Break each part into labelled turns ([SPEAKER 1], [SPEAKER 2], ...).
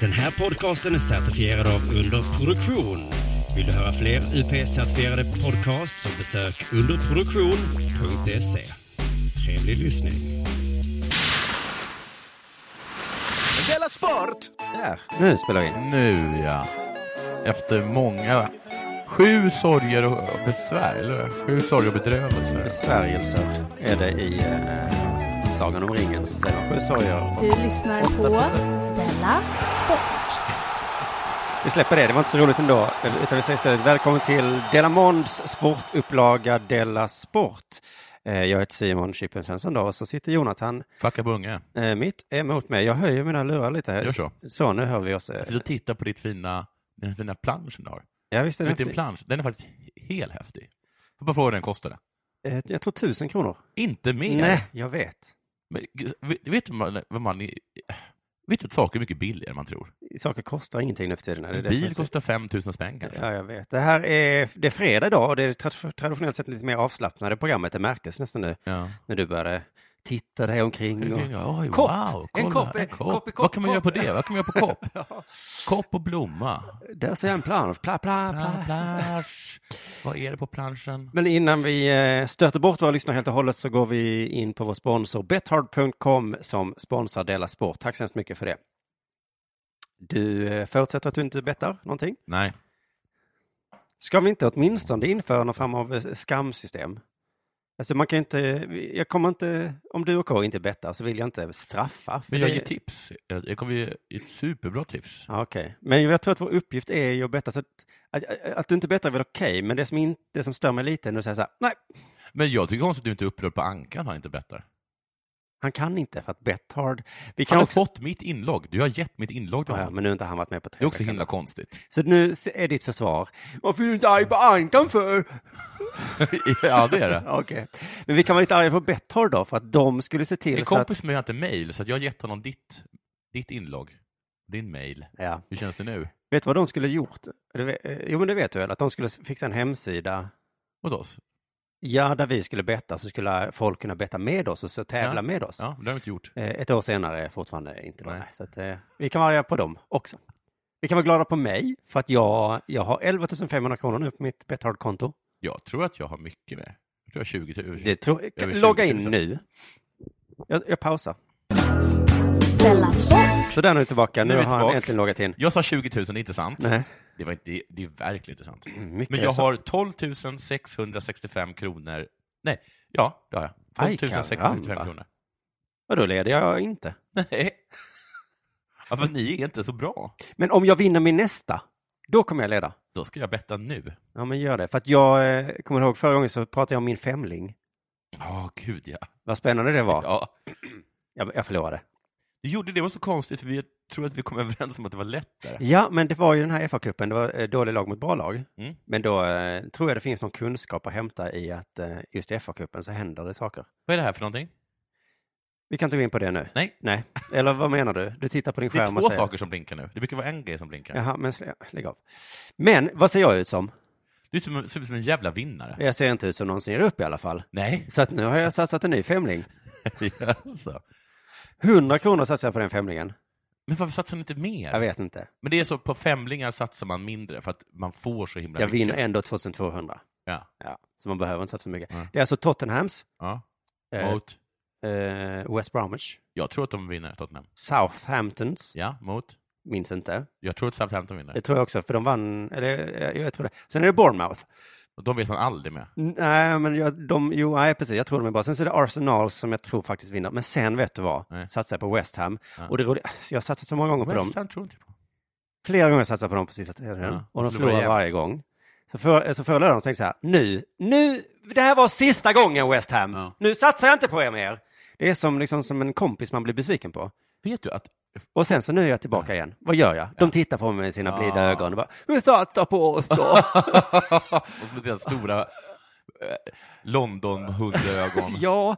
[SPEAKER 1] Den här podcasten är certifierad av Underproduktion. Vill du höra fler UP-certifierade podcasts så besök underproduktion.se. E. Trevlig lyssning.
[SPEAKER 2] Della Sport!
[SPEAKER 3] Där, nu spelar vi in.
[SPEAKER 4] Nu ja. Efter många... Sju sorger och och besvär, eller hur? Sju sorger och bedrövelser.
[SPEAKER 3] Besvärjelser är det i eh, Sagan om ringen så säger de sju sorger.
[SPEAKER 5] Du lyssnar på Della Sport.
[SPEAKER 3] Vi släpper det, det var inte så roligt ändå. Utan vi säger istället välkommen till Della Monds sportupplaga Della Sport. Eh, jag heter Simon Chippen Svensson då, och så sitter Jonathan
[SPEAKER 4] Fucka bunge.
[SPEAKER 3] eh, mitt emot mig. Jag höjer mina lurar lite här.
[SPEAKER 4] Gör så. Alltså,
[SPEAKER 3] Så, nu hör vi oss. eh.
[SPEAKER 4] Jag sitter och tittar på ditt fina, den fina planschen du har.
[SPEAKER 3] Ja, visst är
[SPEAKER 4] Vet du,
[SPEAKER 3] den fin.
[SPEAKER 4] Din plansch, den är faktiskt helt häftig. Får bara fråga vad den kostade.
[SPEAKER 3] Eh, Jag tror tusen kronor.
[SPEAKER 4] Inte mer.
[SPEAKER 3] Nej, jag vet.
[SPEAKER 4] Men, g- vet, vet du vad man- vad man... Vet du att saker är mycket billigare än man tror?
[SPEAKER 3] Saker kostar ingenting nu för tiden. Det är
[SPEAKER 4] En
[SPEAKER 3] det som är
[SPEAKER 4] bil
[SPEAKER 3] så-
[SPEAKER 4] kostar 5 000 spänn kanske.
[SPEAKER 3] Ja, jag vet. Det här är, det är fredag idag och det är tra- traditionellt sett lite mer avslappnade programmet. Det märktes nästan nu
[SPEAKER 4] Ja.
[SPEAKER 3] när du började titta dig omkring. Och... Kopp.
[SPEAKER 4] Oj, wow,
[SPEAKER 3] En
[SPEAKER 4] kolla,
[SPEAKER 3] kopp, en kopp, en kopp,
[SPEAKER 4] Vad kan man göra på
[SPEAKER 3] kopp.
[SPEAKER 4] det? Vad kan man göra på kopp? Kopp och blomma.
[SPEAKER 3] Där ser jag en plan. Pla, pla, pla.
[SPEAKER 4] Pla- Plansch. Vad är det på planschen?
[SPEAKER 3] Men innan vi eh, stöter bort våra lyssnare helt och hållet så går vi in på vår sponsor Bethard.com som sponsrar Dela Sport. Tack så hemskt mycket för det. Du eh, förutsätter att du inte bettar någonting?
[SPEAKER 4] Nej.
[SPEAKER 3] Ska vi inte åtminstone införa någon form av eh, skamsystem? Alltså man kan inte, jag kommer inte, om du och K inte bettar så vill jag inte straffa. för
[SPEAKER 4] Men jag
[SPEAKER 3] det-
[SPEAKER 4] ger tips. Jag jag kommer ge ett superbra tips.
[SPEAKER 3] Ja, Okej, men jag tror att vår uppgift är ju att betta. Så att, att, att du inte bettar är väl okej, men det som, inte, det som stör mig lite är när du säger så här, nej,
[SPEAKER 4] Men jag tycker konstigt att du inte är upprörd på Ankan han inte bettar.
[SPEAKER 3] han kan inte för att Betthard, vi
[SPEAKER 4] Han
[SPEAKER 3] kan
[SPEAKER 4] har
[SPEAKER 3] också...
[SPEAKER 4] fått mitt inlogg. Du har gett mitt inlogg till
[SPEAKER 3] Ja, ja,
[SPEAKER 4] honom.
[SPEAKER 3] men nu har inte han varit med på tre
[SPEAKER 4] Det är också
[SPEAKER 3] veckor.
[SPEAKER 4] himla konstigt.
[SPEAKER 3] Så nu är ditt försvar, varför är du inte arg på Ankan för?
[SPEAKER 4] ja, det är det.
[SPEAKER 3] Okej, men vi kan vara lite arga på Betthard då, för att de skulle se till
[SPEAKER 4] En
[SPEAKER 3] så att...
[SPEAKER 4] kompis med mig har inte mail, så att jag har gett honom ditt, ditt inlogg. Din mail.
[SPEAKER 3] Ja.
[SPEAKER 4] Hur känns det nu?
[SPEAKER 3] Vet du vad de skulle gjort? Du vet- eh, Jo, men det vet du väl, att de skulle fixa en hemsida
[SPEAKER 4] Åt oss?
[SPEAKER 3] Ja, där vi skulle betta så skulle folk kunna betta med oss och så tävla
[SPEAKER 4] Ja.
[SPEAKER 3] med oss.
[SPEAKER 4] Ja, det har vi inte gjort.
[SPEAKER 3] Eh, Ett år senare är fortfarande inte då.
[SPEAKER 4] Nej.
[SPEAKER 3] nej. Så att, eh, vi kan vara arga på dem också. Vi kan vara glada på mig för att jag, jag har 11 500 kronor nu på mitt Betthard-konto.
[SPEAKER 4] Jag tror att jag har mycket mer. Jag tror jag har 20 000.
[SPEAKER 3] Det tror-
[SPEAKER 4] Över 20 000.
[SPEAKER 3] Logga in nu. Jag, jag pausar.
[SPEAKER 5] Della Sport.
[SPEAKER 3] Så där nu är vi tillbaka. Nu,
[SPEAKER 4] Nu är vi
[SPEAKER 3] har han
[SPEAKER 4] tillbaks.
[SPEAKER 3] äntligen loggat in.
[SPEAKER 4] Jag sa 20 000, det är inte sant.
[SPEAKER 3] Nej.
[SPEAKER 4] Det, var inte, det, det är verkligen inte sant.
[SPEAKER 3] Mycket
[SPEAKER 4] Men
[SPEAKER 3] är
[SPEAKER 4] jag
[SPEAKER 3] så.
[SPEAKER 4] har 12 665 kronor. Nej, ja, det har
[SPEAKER 3] Aj,
[SPEAKER 4] jag. 12 665
[SPEAKER 3] karamba.
[SPEAKER 4] kronor.
[SPEAKER 3] Och då leder jag inte.
[SPEAKER 4] Nej. Ja, för ni är inte så bra.
[SPEAKER 3] Men om jag vinner min nästa, då kommer jag leda.
[SPEAKER 4] Då ska jag betta nu.
[SPEAKER 3] Ja, men gör det. För att jag eh, kommer ihåg förra gången så pratade jag om min femling.
[SPEAKER 4] Ja, gud ja.
[SPEAKER 3] Vad spännande det var.
[SPEAKER 4] ja.
[SPEAKER 3] Jag, jag förlorade.
[SPEAKER 4] Du gjorde det, det var så konstigt för vi tror att vi kom överens om att det var lättare.
[SPEAKER 3] Ja, men det var ju den här FA-cupen, det var eh, dålig lag mot bra lag.
[SPEAKER 4] Mm.
[SPEAKER 3] Men då eh, tror jag det finns någon kunskap att hämta i att eh, just i FA-cupen så händer det saker.
[SPEAKER 4] Vad är det här för någonting?
[SPEAKER 3] Vi kan inte gå in på det nu.
[SPEAKER 4] Nej.
[SPEAKER 3] Nej, eller vad menar du? Du tittar på din
[SPEAKER 4] Det är
[SPEAKER 3] skärm
[SPEAKER 4] två
[SPEAKER 3] och säger...
[SPEAKER 4] saker som blinkar nu. Det brukar vara en grej som blinkar.
[SPEAKER 3] Jaha, men slä- lägg av. Men vad ser jag ut som?
[SPEAKER 4] Du ser ut som- ser ut som en jävla vinnare.
[SPEAKER 3] Jag ser inte ut som någon som ger upp i alla fall.
[SPEAKER 4] Nej.
[SPEAKER 3] Så att nu har jag satsat en ny femling.
[SPEAKER 4] alltså.
[SPEAKER 3] 100 kronor satsar jag på den femlingen.
[SPEAKER 4] Men varför satsar ni inte
[SPEAKER 3] Jag
[SPEAKER 4] mer?
[SPEAKER 3] vet inte.
[SPEAKER 4] Men det är så, på femlingar satsar man mindre för att man får så himla
[SPEAKER 3] Jag
[SPEAKER 4] mycket.
[SPEAKER 3] vinner ändå 2200.
[SPEAKER 4] Ja.
[SPEAKER 3] Ja, så man behöver inte satsa mycket.
[SPEAKER 4] Nej.
[SPEAKER 3] Det är alltså Tottenhams,
[SPEAKER 4] Ja.
[SPEAKER 3] eh,
[SPEAKER 4] Mot?
[SPEAKER 3] eh, West Bromwich,
[SPEAKER 4] Jag tror att de vinner, Tottenham.
[SPEAKER 3] Southamptons,
[SPEAKER 4] Ja, mot?
[SPEAKER 3] minns inte.
[SPEAKER 4] Jag tror att Southampton vinner.
[SPEAKER 3] Det tror jag också, för de vann, eller jag, jag tror det. Sen är det Bournemouth.
[SPEAKER 4] Och de vet man aldrig med.
[SPEAKER 3] Nej, men jag, de, jo, nej, precis, jag tror de är bra. Sen så är det Arsenal som jag tror faktiskt vinner. Men sen, vet du vad,
[SPEAKER 4] Nej.
[SPEAKER 3] satsar jag på West Ham.
[SPEAKER 4] Ja.
[SPEAKER 3] Och det roliga, alltså, jag har satsat så många gånger på dem.
[SPEAKER 4] West Ham tror inte jag på.
[SPEAKER 3] Flera gånger har jag satsat på dem på sista tiden.
[SPEAKER 4] Ja,
[SPEAKER 3] Och de
[SPEAKER 4] förlorar
[SPEAKER 3] förlorar
[SPEAKER 4] jämt.
[SPEAKER 3] varje gång. Så, för, så förra lördagen så tänkte jag så här, nu, nu, det här var sista gången West Ham.
[SPEAKER 4] Ja.
[SPEAKER 3] Nu satsar jag inte på er mer. Det är som, liksom, som en kompis man blir besviken på.
[SPEAKER 4] Vet du att
[SPEAKER 3] Och sen så nu är jag tillbaka igen. Vad gör jag? De tittar på mig med sina blida
[SPEAKER 4] Ja.
[SPEAKER 3] ögon och bara, men satsa på oss då.
[SPEAKER 4] och med deras stora eh, London-hundögon.
[SPEAKER 3] Ja,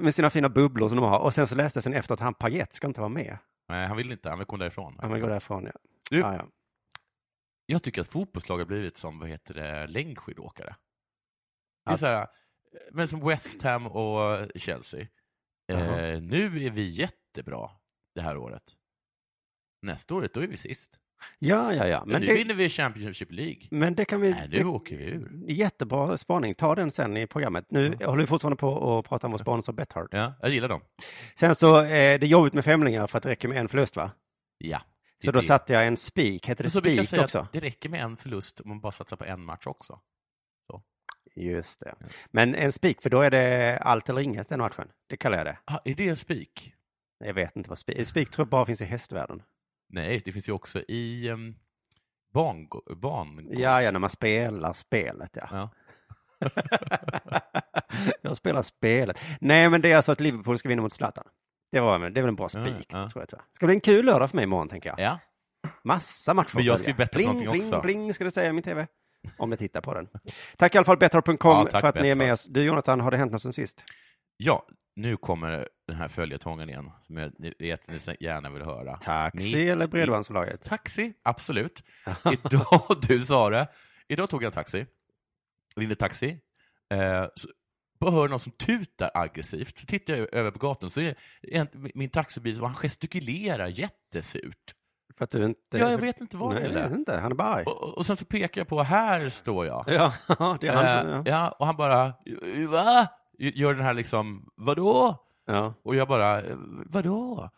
[SPEAKER 3] med sina fina bubblor som de har. Och sen så läste jag sen efter att han Pagett ska inte vara med.
[SPEAKER 4] Nej, han vill inte. Han vill komma därifrån.
[SPEAKER 3] Han vill gå därifrån, ja.
[SPEAKER 4] Du-
[SPEAKER 3] ja, ja.
[SPEAKER 4] Jag tycker att fotbollslag har blivit som vad heter det, längdskidåkare. Det är så här, eh, men som West Ham och Chelsea. Eh,
[SPEAKER 3] Jaha.
[SPEAKER 4] nu är vi jättebra det här året. Nästa året, då är vi sist.
[SPEAKER 3] Ja, ja, ja.
[SPEAKER 4] Men
[SPEAKER 3] Men
[SPEAKER 4] nu
[SPEAKER 3] det,
[SPEAKER 4] vinner vi Championship League.
[SPEAKER 3] men det kan vi...
[SPEAKER 4] Nej, nu
[SPEAKER 3] det-
[SPEAKER 4] åker vi ur.
[SPEAKER 3] Jättebra spaning. Ta den sen i programmet. Nu håller vi fortfarande på och pratar om vår sponsor Bethard.
[SPEAKER 4] Ja, jag gillar dem.
[SPEAKER 3] Sen så är det jobbigt med femlingar för att det räcker med en förlust, va?
[SPEAKER 4] Ja.
[SPEAKER 3] Så då satte jag en spik. Heter det
[SPEAKER 4] det så brukar jag
[SPEAKER 3] spik
[SPEAKER 4] säga
[SPEAKER 3] också?
[SPEAKER 4] Att det räcker med en förlust om man bara satsar på en match också.
[SPEAKER 3] Just det. Men en spik, för då är det allt eller inget den matchen. Det kallar jag det.
[SPEAKER 4] Ah, är det en spik?
[SPEAKER 3] Jag vet inte vad spik... Spik tror jag bara finns i hästvärlden.
[SPEAKER 4] Nej, det finns ju också i um, bangolf.
[SPEAKER 3] Ja, ja, när man spelar spelet, ja.
[SPEAKER 4] Ja.
[SPEAKER 3] jag spelar spelet. Nej, men det är alltså att Liverpool ska vinna mot Zlatan. Det, var, det är väl en bra spik,
[SPEAKER 4] Ja, ja.
[SPEAKER 3] tror jag. tror jag. Ska bli en kul lördag för mig imorgon, tänker jag.
[SPEAKER 4] ja.
[SPEAKER 3] Massa matcher
[SPEAKER 4] Men jag
[SPEAKER 3] att
[SPEAKER 4] ska ju
[SPEAKER 3] följa.
[SPEAKER 4] betta på
[SPEAKER 3] bling,
[SPEAKER 4] någonting
[SPEAKER 3] bling,
[SPEAKER 4] också.
[SPEAKER 3] Bling, ska det säga i min tv. Om jag tittar på den. Tack i alla fall Betthard.com
[SPEAKER 4] Ja,
[SPEAKER 3] för
[SPEAKER 4] tack,
[SPEAKER 3] att ni är med
[SPEAKER 4] Betthard.
[SPEAKER 3] oss. Du Jonathan, har det hänt något sen sist?
[SPEAKER 4] ja, nu kommer den här följetongen igen, som jag ni vet ni så gärna vill höra.
[SPEAKER 3] Taxi
[SPEAKER 4] Mitt
[SPEAKER 3] eller
[SPEAKER 4] i-
[SPEAKER 3] Bredbandsbolaget?
[SPEAKER 4] Taxi, absolut. Idag, du sa det, idag tog jag taxi, ringde taxi, eh, så bara hör någon som tutar aggressivt. Så tittar jag över på gatan så är det en, min taxibil, som- han gestikulerar jättesurt.
[SPEAKER 3] För att du inte...
[SPEAKER 4] Ja, jag vet inte vad
[SPEAKER 3] Nej,
[SPEAKER 4] det
[SPEAKER 3] jag vet
[SPEAKER 4] är.
[SPEAKER 3] inte. Han är bara arg.
[SPEAKER 4] Och, och och sen så pekar jag på, här står jag.
[SPEAKER 3] Ja, det är han som...
[SPEAKER 4] Eh,
[SPEAKER 3] Ja.
[SPEAKER 4] ja, och han bara, va? Gör den här liksom, vadå?
[SPEAKER 3] Ja.
[SPEAKER 4] Och jag bara, eh, vadå?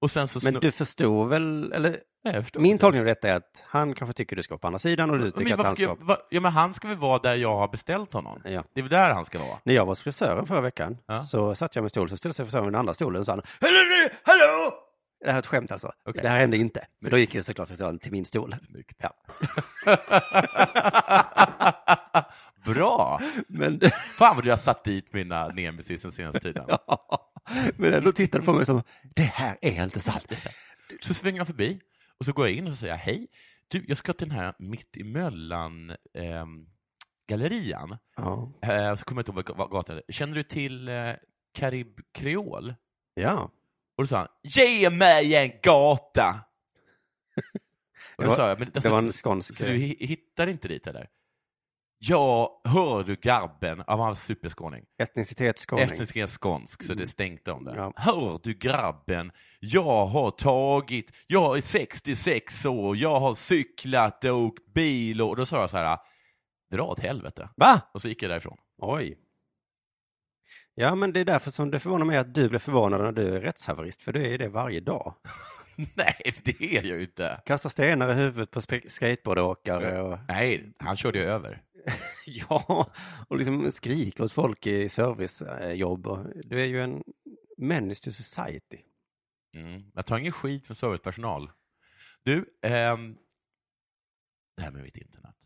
[SPEAKER 4] Och sen så...
[SPEAKER 3] Men
[SPEAKER 4] sno-
[SPEAKER 3] du förstod väl, eller
[SPEAKER 4] Nej, jag förstår
[SPEAKER 3] min
[SPEAKER 4] inte.
[SPEAKER 3] tolkning av detta är att han kanske tycker du ska vara på andra sidan och du tycker
[SPEAKER 4] men
[SPEAKER 3] att
[SPEAKER 4] varför
[SPEAKER 3] han
[SPEAKER 4] ska
[SPEAKER 3] ska
[SPEAKER 4] jag,
[SPEAKER 3] vara...
[SPEAKER 4] va, ja, men han ska väl vara där jag har beställt honom?
[SPEAKER 3] Ja.
[SPEAKER 4] Det är väl där han ska vara?
[SPEAKER 3] När jag var hos frisören förra veckan
[SPEAKER 4] Ja.
[SPEAKER 3] så satt jag med stol, så ställde sig frisören vid den andra stolen och sa han, hallå, hallå! Det här är ett skämt alltså.
[SPEAKER 4] Okej.
[SPEAKER 3] Det här hände inte. Men då gick ju såklart frisören till min stol. Ja.
[SPEAKER 4] Bra!
[SPEAKER 3] Men,
[SPEAKER 4] Fan vad du har satt dit mina nemesis den senaste tiden.
[SPEAKER 3] men ändå tittade på mig som, det här är inte sant.
[SPEAKER 4] Så svänger jag förbi och så går jag in och så säger jag, hej. Du, jag ska till den här mitt emellan ehm, gallerian.
[SPEAKER 3] Ja.
[SPEAKER 4] Eh, så kommer jag inte ihåg vad- vad gatan är. Känner du till eh, Karib Kreol?
[SPEAKER 3] ja.
[SPEAKER 4] Och då sa han, ge mig en gata!
[SPEAKER 3] Det
[SPEAKER 4] och då
[SPEAKER 3] var-
[SPEAKER 4] sa jag, men,
[SPEAKER 3] Det
[SPEAKER 4] alltså,
[SPEAKER 3] var en skånsk
[SPEAKER 4] Så du hi- hittar inte dit eller? Ja, hör du grabben? Ja, han var superskåning.
[SPEAKER 3] etnicitetsskåning.
[SPEAKER 4] Estnisk är skånsk, så det stänkte om det.
[SPEAKER 3] Ja.
[SPEAKER 4] Hör du grabben? Jag har tagit, jag är 66 år, jag har cyklat och åkt bil och, och då sa jag så här, dra åt helvete.
[SPEAKER 3] Va?
[SPEAKER 4] Och så gick jag därifrån.
[SPEAKER 3] Oj. Ja, men det är därför som det förvånar mig att du blir förvånad när du är rättshaverist, för du är ju det varje dag.
[SPEAKER 4] Nej, det är jag ju inte.
[SPEAKER 3] Kastar stenar i huvudet på spe- skateboardåkare och,
[SPEAKER 4] Nej, han körde ju över.
[SPEAKER 3] ja, och liksom skriker åt folk i servicejobb. och- Du är ju en menace to society.
[SPEAKER 4] Mm. Jag tar ingen skit från servicepersonal. Du, ehm, det här med mitt internet.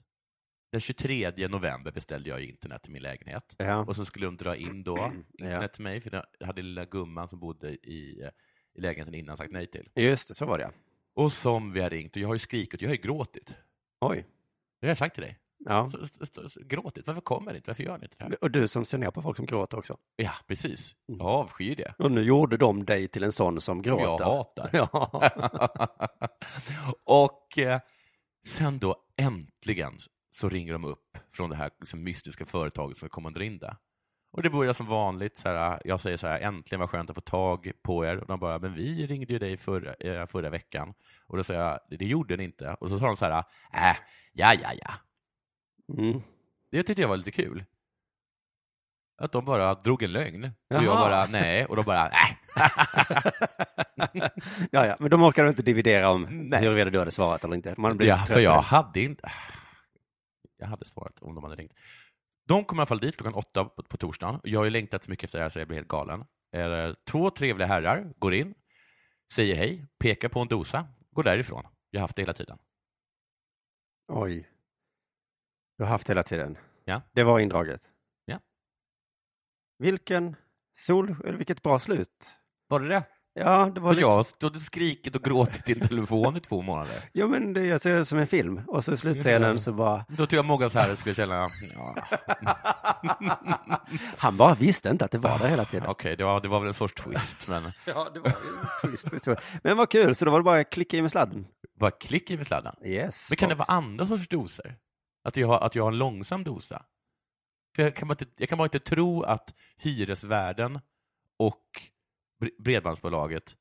[SPEAKER 4] Den 23 november beställde jag ju internet till min lägenhet.
[SPEAKER 3] Ja,
[SPEAKER 4] Och så skulle hon dra in då internet till mig, för det hade lilla gumman som bodde i, eh, i lägenheten innan sagt nej till.
[SPEAKER 3] just det, så var det ja.
[SPEAKER 4] Och som vi har ringt, och jag har ju skrikit, jag har ju gråtit.
[SPEAKER 3] Oj.
[SPEAKER 4] Det har jag sagt till dig.
[SPEAKER 3] Ja.
[SPEAKER 4] Så, så, så, så, gråtit, varför kommer ni inte? Varför gör ni inte det här?
[SPEAKER 3] Och du som ser ner på folk som gråter också.
[SPEAKER 4] Ja, precis. Jag avskyr det.
[SPEAKER 3] Och nu gjorde de dig till en sån som
[SPEAKER 4] Som
[SPEAKER 3] gråter.
[SPEAKER 4] jag hatar.
[SPEAKER 3] Ja.
[SPEAKER 4] och eh, sen då äntligen så ringer de upp från det här liksom, mystiska företaget som kommer dra in det. Och det börjar som vanligt, så här, jag säger så här, äntligen vad skönt att få tag på er. Och de bara, men vi ringde ju dig förra, eh, förra veckan. Och då säger jag, det gjorde ni inte. Och så sa de så här, äh, ja, ja, ja.
[SPEAKER 3] Mm.
[SPEAKER 4] Det tyckte jag var lite kul. Att de bara drog en lögn. Och jag
[SPEAKER 3] Jaha.
[SPEAKER 4] bara, nej. Och de bara, äh.
[SPEAKER 3] ja, ja, men de orkar du inte dividera om
[SPEAKER 4] Nej.
[SPEAKER 3] huruvida du hade svarat eller inte. Man blir
[SPEAKER 4] Ja,
[SPEAKER 3] trött
[SPEAKER 4] för jag
[SPEAKER 3] på det.
[SPEAKER 4] hade inte... Ah, Jag hade svarat om de hade ringt. De kommer i alla fall dit klockan åtta på, på torsdagen. Jag har ju längtat så mycket efter det här så jag blir helt galen. Eh, två trevliga herrar går in, säger hej, pekar på en dosa, går därifrån. Jag har haft det hela tiden.
[SPEAKER 3] Oj. Du har haft hela tiden.
[SPEAKER 4] Ja.
[SPEAKER 3] Det var indraget.
[SPEAKER 4] Ja.
[SPEAKER 3] Vilken sol, eller vilket bra slut.
[SPEAKER 4] Var det det?
[SPEAKER 3] Ja, det var
[SPEAKER 4] Och jag
[SPEAKER 3] liksom,
[SPEAKER 4] har stått och skrikit och gråtit i en telefon i två månader.
[SPEAKER 3] ja men det, jag ser det som en film. Och så i slutscenen så bara,
[SPEAKER 4] Då tror jag många så här skulle känna, ja,
[SPEAKER 3] han bara visste inte att det var där hela tiden.
[SPEAKER 4] okej, det, var, det var väl en sorts twist, men
[SPEAKER 3] Ja, det var en twist. på historien. Men vad kul, så då var det bara att klicka i med sladden.
[SPEAKER 4] bara klick i med sladden.
[SPEAKER 3] Yes.
[SPEAKER 4] Men kan det vara andra sorts doser? Att jag har, att jag har en långsam dosa? För jag kan, bara inte, jag kan bara inte tro att hyresvärden och bre- bredbandsbolaget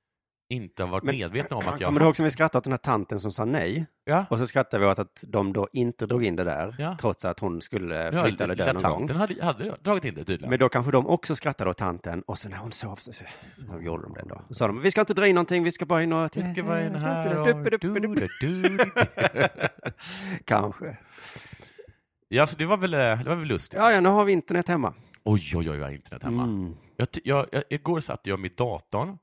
[SPEAKER 4] inte har varit
[SPEAKER 3] Men-
[SPEAKER 4] medvetna om att jag...
[SPEAKER 3] Kommer du ihåg som vi skrattade åt den här tanten som sa nej?
[SPEAKER 4] Ja.
[SPEAKER 3] Och så skrattade vi åt att de då inte drog in det där,
[SPEAKER 4] Ja.
[SPEAKER 3] trots att hon skulle
[SPEAKER 4] Ja,
[SPEAKER 3] flytta eller dö
[SPEAKER 4] lilla
[SPEAKER 3] någon gång.
[SPEAKER 4] tanten hade, hade dragit in det tydligen.
[SPEAKER 3] Men då kanske de också skrattade åt tanten och sen när hon sov så, så, så gjorde de det ändå. Så sa de, vi ska inte dra in någonting, vi ska bara in Mm. och...
[SPEAKER 4] Vi ska vara in här och...
[SPEAKER 3] här Kanske.
[SPEAKER 4] Ja, så det var väl, eh, det var väl lustigt.
[SPEAKER 3] Ja, ja, nu har vi internet hemma.
[SPEAKER 4] Oj, oj, oj, vad internet hemma.
[SPEAKER 3] Mm.
[SPEAKER 4] Jag, t- jag, jag, igår satt jag med datorn,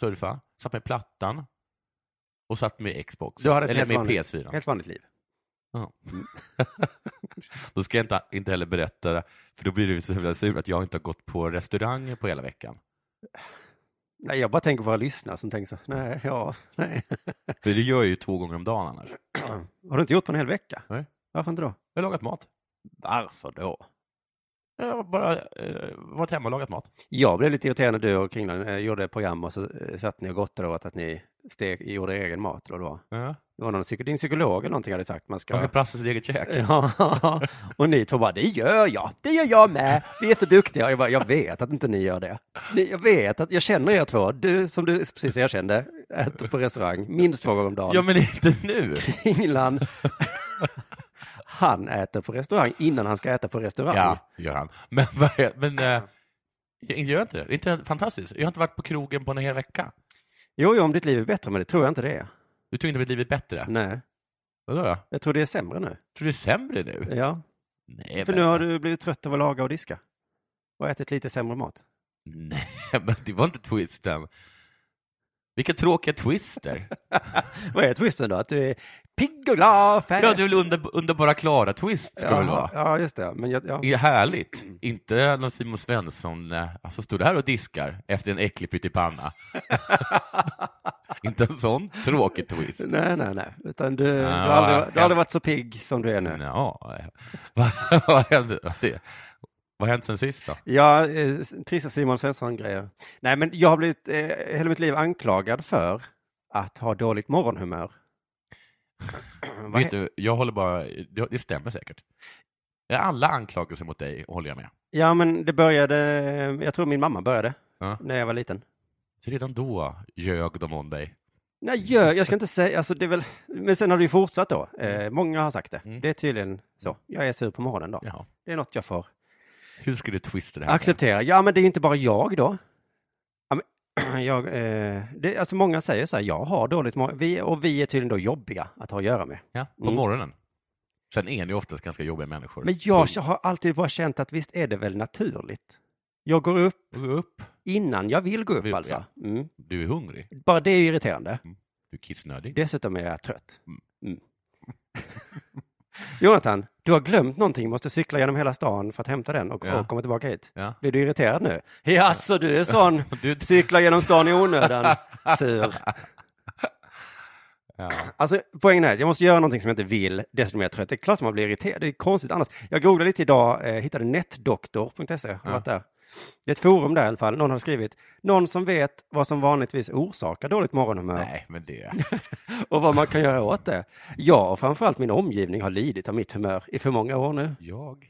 [SPEAKER 4] surfa, satt med plattan och satt med Xbox.
[SPEAKER 3] Du har ett
[SPEAKER 4] eller
[SPEAKER 3] helt
[SPEAKER 4] med
[SPEAKER 3] vanligt-
[SPEAKER 4] PS4.
[SPEAKER 3] Helt vanligt liv.
[SPEAKER 4] Då ska jag inte, inte heller berätta, för då blir det så jävla sur att jag inte har gått på restaurang på hela veckan.
[SPEAKER 3] Nej, jag bara tänker på våra lyssnare som tänker så, nej, ja, nej.
[SPEAKER 4] För det gör jag ju två gånger om dagen annars.
[SPEAKER 3] Har du inte gjort på en hel vecka?
[SPEAKER 4] Nej.
[SPEAKER 3] Varför inte då?
[SPEAKER 4] Jag har lagat mat.
[SPEAKER 3] Varför då?
[SPEAKER 4] Jag har bara eh, varit hemma och lagat mat.
[SPEAKER 3] Jag blev lite irriterad när du och Kringlan eh, gjorde program och så eh, satt ni och gottade åt att ni stek, gjorde egen mat. Eller vad det var. Det var någon psyko, din psykolog eller någonting hade sagt man
[SPEAKER 4] Man ska
[SPEAKER 3] ska...
[SPEAKER 4] brassa sitt eget kök.
[SPEAKER 3] Ja, och ni två bara, det gör jag, det gör jag med, vi är för duktiga. Jag bara, jag vet att inte ni gör det. Ni- Jag vet att, jag känner er två, du som du precis erkände, äter på restaurang minst två gånger om dagen.
[SPEAKER 4] Ja, men inte nu.
[SPEAKER 3] Kringlan, han äter på restaurang innan han ska äta på restaurang.
[SPEAKER 4] Ja, gör han. Men, vad är- men eh, jag gör inte det? Är inte det fantastiskt? Jag har inte varit på krogen på en hel vecka.
[SPEAKER 3] Jo, jo, om ditt liv är bättre, men det tror jag inte det är.
[SPEAKER 4] Du tror inte mitt liv är bättre?
[SPEAKER 3] Nej,
[SPEAKER 4] Vadå då? Tror
[SPEAKER 3] jag tror det är sämre nu.
[SPEAKER 4] du det är sämre nu?
[SPEAKER 3] Ja,
[SPEAKER 4] Nej,
[SPEAKER 3] för
[SPEAKER 4] men,
[SPEAKER 3] nu har du blivit trött av att laga och diska. Och ätit lite sämre mat.
[SPEAKER 4] nej, men det var inte twisten. Vilka tråkiga twister.
[SPEAKER 3] Vad är twisten då? Att du är pigg och glad, färg.
[SPEAKER 4] Ja, det är väl under, underbara Klara-twist ska det väl vara?
[SPEAKER 3] Ja, just det. Men jag, ja.
[SPEAKER 4] Det är härligt. Inte någon Simon Svensson, eh, alltså står där och diskar efter en äcklig pyttipanna. inte en sån tråkig twist.
[SPEAKER 3] Nej, nej, nej. Utan du, du,
[SPEAKER 4] Ah, Ja,
[SPEAKER 3] har aldrig, du har
[SPEAKER 4] jag-
[SPEAKER 3] aldrig varit så pigg som du är nu.
[SPEAKER 4] Ja, vad vad hände? det- Vad har hänt sen sist då?
[SPEAKER 3] Ja, eh, trista Simon Svensson-grejer. Nej, men jag har blivit eh, hela mitt liv anklagad för att ha dåligt morgonhumör. Vad
[SPEAKER 4] Vet du, jag håller bara, det det stämmer säkert. Alla anklagelser mot dig håller jag med.
[SPEAKER 3] Ja, men det började, eh, jag tror min mamma började
[SPEAKER 4] Ja.
[SPEAKER 3] när jag var liten.
[SPEAKER 4] Så redan då ljög de om dig.
[SPEAKER 3] Nej, jag, jag ska inte säga, alltså det är väl, men sen har det ju fortsatt då. Eh, många har sagt det.
[SPEAKER 4] Mm.
[SPEAKER 3] Det är tydligen så. Jag är sur på morgonen då.
[SPEAKER 4] Jaha.
[SPEAKER 3] Det är något jag får
[SPEAKER 4] Hur ska du twista det här?
[SPEAKER 3] acceptera. Ja, men det är ju inte bara jag då. Ja, men, jag, eh, det, alltså många säger så här, jag har dåligt morgon, vi, och vi är tydligen då jobbiga att ha att göra med.
[SPEAKER 4] Ja, på
[SPEAKER 3] Mm.
[SPEAKER 4] morgonen. Sen är ni oftast ganska jobbiga människor.
[SPEAKER 3] Men jag har alltid bara känt att visst är det väl naturligt. Jag går upp
[SPEAKER 4] Gå upp,
[SPEAKER 3] innan jag vill gå upp
[SPEAKER 4] Vill,
[SPEAKER 3] alltså. Mm.
[SPEAKER 4] du är hungrig,
[SPEAKER 3] Bara det är ju irriterande.
[SPEAKER 4] du är kissnödig.
[SPEAKER 3] Dessutom är jag trött.
[SPEAKER 4] Mm.
[SPEAKER 3] Mm. Jonathan, du har glömt någonting, måste cykla genom hela stan för att hämta den och,
[SPEAKER 4] Ja.
[SPEAKER 3] och komma tillbaka hit.
[SPEAKER 4] Ja.
[SPEAKER 3] Blir du irriterad nu? Jaså, du är sån,
[SPEAKER 4] Du,
[SPEAKER 3] cykla genom stan i onödan, sur.
[SPEAKER 4] ja.
[SPEAKER 3] Alltså poängen är, att jag måste göra någonting som jag inte vill, dessutom är jag trött. Det är klart att man blir irriterad, det är konstigt annars. Jag googlade lite idag, eh, hittade netdoktor.se, E, har
[SPEAKER 4] Ja.
[SPEAKER 3] varit där. Det är ett forum där i alla fall, någon har skrivit, någon som vet vad som vanligtvis orsakar dåligt morgonhumör.
[SPEAKER 4] Nej, men det...
[SPEAKER 3] och vad man kan göra åt det. Jag och framförallt min omgivning har lidit av mitt humör i för många år nu.
[SPEAKER 4] Jag?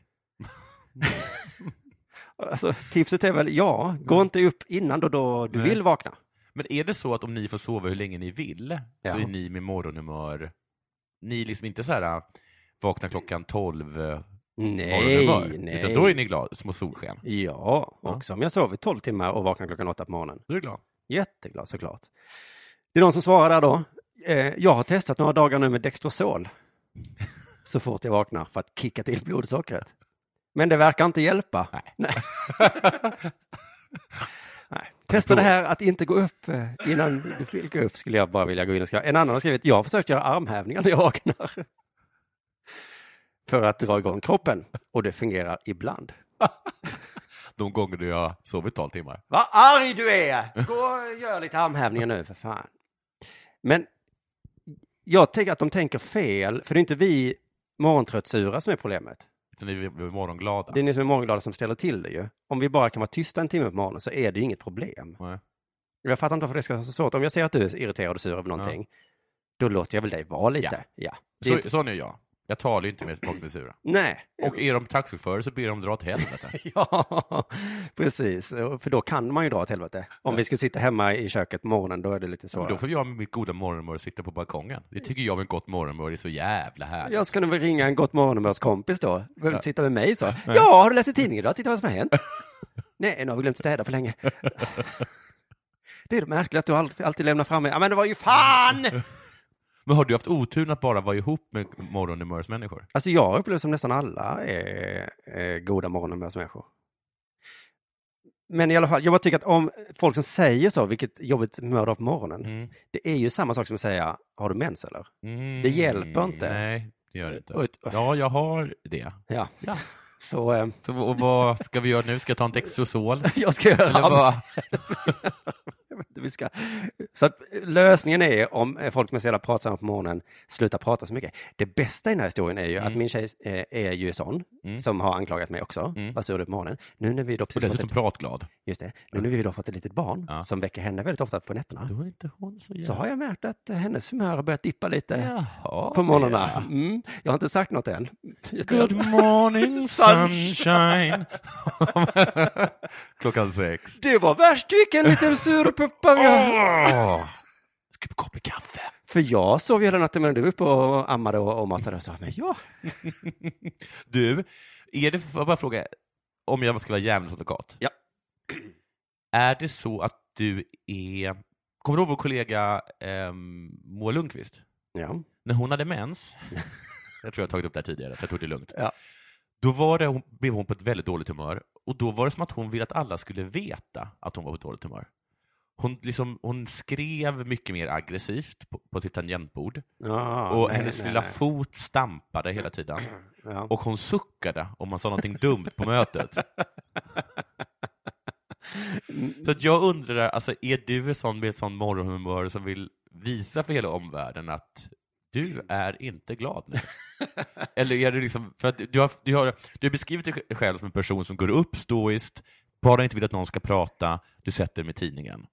[SPEAKER 3] Alltså, tipset är väl, ja, gå inte upp innan då, då du
[SPEAKER 4] Mm. Nej.
[SPEAKER 3] vill vakna.
[SPEAKER 4] Men är det så att om ni får sova hur länge ni vill,
[SPEAKER 3] Ja.
[SPEAKER 4] så är ni med morgonhumör... Ni är liksom inte så här, äh, vakna klockan tolv, eh,
[SPEAKER 3] Nej,
[SPEAKER 4] morgonhumör.
[SPEAKER 3] nej.
[SPEAKER 4] Utan då är ni glada, små solsken.
[SPEAKER 3] Ja, och
[SPEAKER 4] Ja.
[SPEAKER 3] som jag sov i 12 timmar och vaknade klockan åtta på morgonen.
[SPEAKER 4] Då är du glad.
[SPEAKER 3] Jätteglad såklart. Det är någon som svarar där då. Eh, jag har testat några dagar nu med Dextrosol. Så fort jag vaknar för att kicka till blodsockret. Men det verkar inte hjälpa. Nej. Nej. Testa det här att inte gå upp eh, innan du vill gå upp skulle jag bara vilja gå in och skriva. En annan har skrivit, jag har försökt göra armhävningar när jag vaknar. För att dra igång kroppen och det fungerar ibland.
[SPEAKER 4] De gånger du har sovit tolv timmar.
[SPEAKER 3] Vad arg du är! Gå och gör lite armhävningar nu för fan. Men jag tänker att de tänker fel, för det är inte vi morgontröttsura som är problemet.
[SPEAKER 4] Utan ni är morgonglada.
[SPEAKER 3] Det är ni som är morgonglada som ställer till det ju. Om vi bara kan vara tysta en timme på morgonen så är det ju inget problem.
[SPEAKER 4] Nej.
[SPEAKER 3] Jag fattar inte varför det ska vara så svårt. Om jag ser att du är irriterad och sur över någonting, då låter jag väl dig vara lite. Ja. Det är
[SPEAKER 4] Så,
[SPEAKER 3] inte...
[SPEAKER 4] Sån är jag. Jag talar ju inte med baknesura.
[SPEAKER 3] Nej.
[SPEAKER 4] Och är de taxichaufförer så ber de dra åt helvete.
[SPEAKER 3] Ja, precis. För då kan man ju dra åt helvete. Om vi skulle sitta hemma i köket på morgonen, då är det lite
[SPEAKER 4] Då
[SPEAKER 3] svårare.
[SPEAKER 4] får jag med mitt goda morgonmör sitta på balkongen. Det tycker jag med gott morgonmör är så jävla härligt.
[SPEAKER 3] Jag skulle väl ringa en gott morgonmörskompis då. Behöver inte sitta med mig så. Ja, har du läst i tidningen idag? Titta vad som har hänt. Nej, nu har vi glömt städa för länge. Det är det märkligt att du alltid, alltid lämnar fram mig. Ja, men det var ju fan!
[SPEAKER 4] Men har du haft oturen att bara vara ihop med morgonhumörsmänniskor?
[SPEAKER 3] Alltså jag upplever som nästan alla är, är goda morgonmänniskor. Men i alla fall, jag bara tycker att om folk som säger så, vilket jobbigt humör du har på morgonen,
[SPEAKER 4] Mm.
[SPEAKER 3] det är ju samma sak som att säga, har du mens eller? Det hjälper inte.
[SPEAKER 4] Nej, det gör det
[SPEAKER 3] Och
[SPEAKER 4] inte.
[SPEAKER 3] ett-
[SPEAKER 4] Ja, jag har det.
[SPEAKER 3] Ja.
[SPEAKER 4] Ja.
[SPEAKER 3] Så eh,
[SPEAKER 4] Så, och vad ska vi göra nu? Ska jag ta en Dextrosol?
[SPEAKER 3] jag ska göra
[SPEAKER 4] Eller vad?
[SPEAKER 3] Vi ska... Så att eh, lösningen är om eh, folk som är så jävla pratsamma på morgonen slutar prata så mycket. Det bästa i den här historien är ju att min tjej eh, är ju sån, som har anklagat mig också,
[SPEAKER 4] Mm.
[SPEAKER 3] var sur du på morgonen. Nu när vi då
[SPEAKER 4] Och
[SPEAKER 3] precis fått
[SPEAKER 4] dessutom
[SPEAKER 3] ett,
[SPEAKER 4] pratglad.
[SPEAKER 3] just det, nu när vi då fått ett litet barn
[SPEAKER 4] Ja.
[SPEAKER 3] som väcker henne väldigt ofta på nätterna,
[SPEAKER 4] Då är inte hon så jävla...
[SPEAKER 3] så har jag märkt att eh, hennes humör har börjat dippa lite
[SPEAKER 4] Jaha.
[SPEAKER 3] på morgnarna. Mm. Jag har inte sagt något än.
[SPEAKER 4] Good morning
[SPEAKER 3] Sunshine.
[SPEAKER 4] sunshine. Klockan sex.
[SPEAKER 3] Det var värst vilken liten surpuppa vi har.
[SPEAKER 4] Åh! Ska vi koppla kaffe?
[SPEAKER 3] För jag sov ju hela natten medan du var uppe och ammade och, och matade och sa, men ja,
[SPEAKER 4] Du, är det, får jag bara fråga, om jag ska vara djävulens advokat.
[SPEAKER 3] Ja.
[SPEAKER 4] Är det så att du är, kommer du ihåg vår kollega eh, Moa Lundqvist?
[SPEAKER 3] ja.
[SPEAKER 4] När hon hade mens, jag tror jag har tagit upp det här tidigare, så jag tog det lugnt.
[SPEAKER 3] Ja.
[SPEAKER 4] Då var det, hon, blev hon på ett väldigt dåligt humör och då var det som att hon ville att alla skulle veta att hon var på ett dåligt humör. Hon, liksom, hon skrev mycket mer aggressivt på, på sitt tangentbord
[SPEAKER 3] Ja,
[SPEAKER 4] och
[SPEAKER 3] nej,
[SPEAKER 4] hennes
[SPEAKER 3] nej,
[SPEAKER 4] lilla
[SPEAKER 3] nej.
[SPEAKER 4] fot stampade hela tiden.
[SPEAKER 3] Ja.
[SPEAKER 4] Och hon suckade om man sa någonting dumt på mötet. Så att jag undrar, alltså, är du en sån med ett sån morgonhumör som vill visa för hela omvärlden att du är inte glad nu? Eller är du liksom, för att du har, du har, du har beskrivit dig själv som en person som går upp stoiskt, bara inte vill att någon ska prata, du sätter dig med tidningen.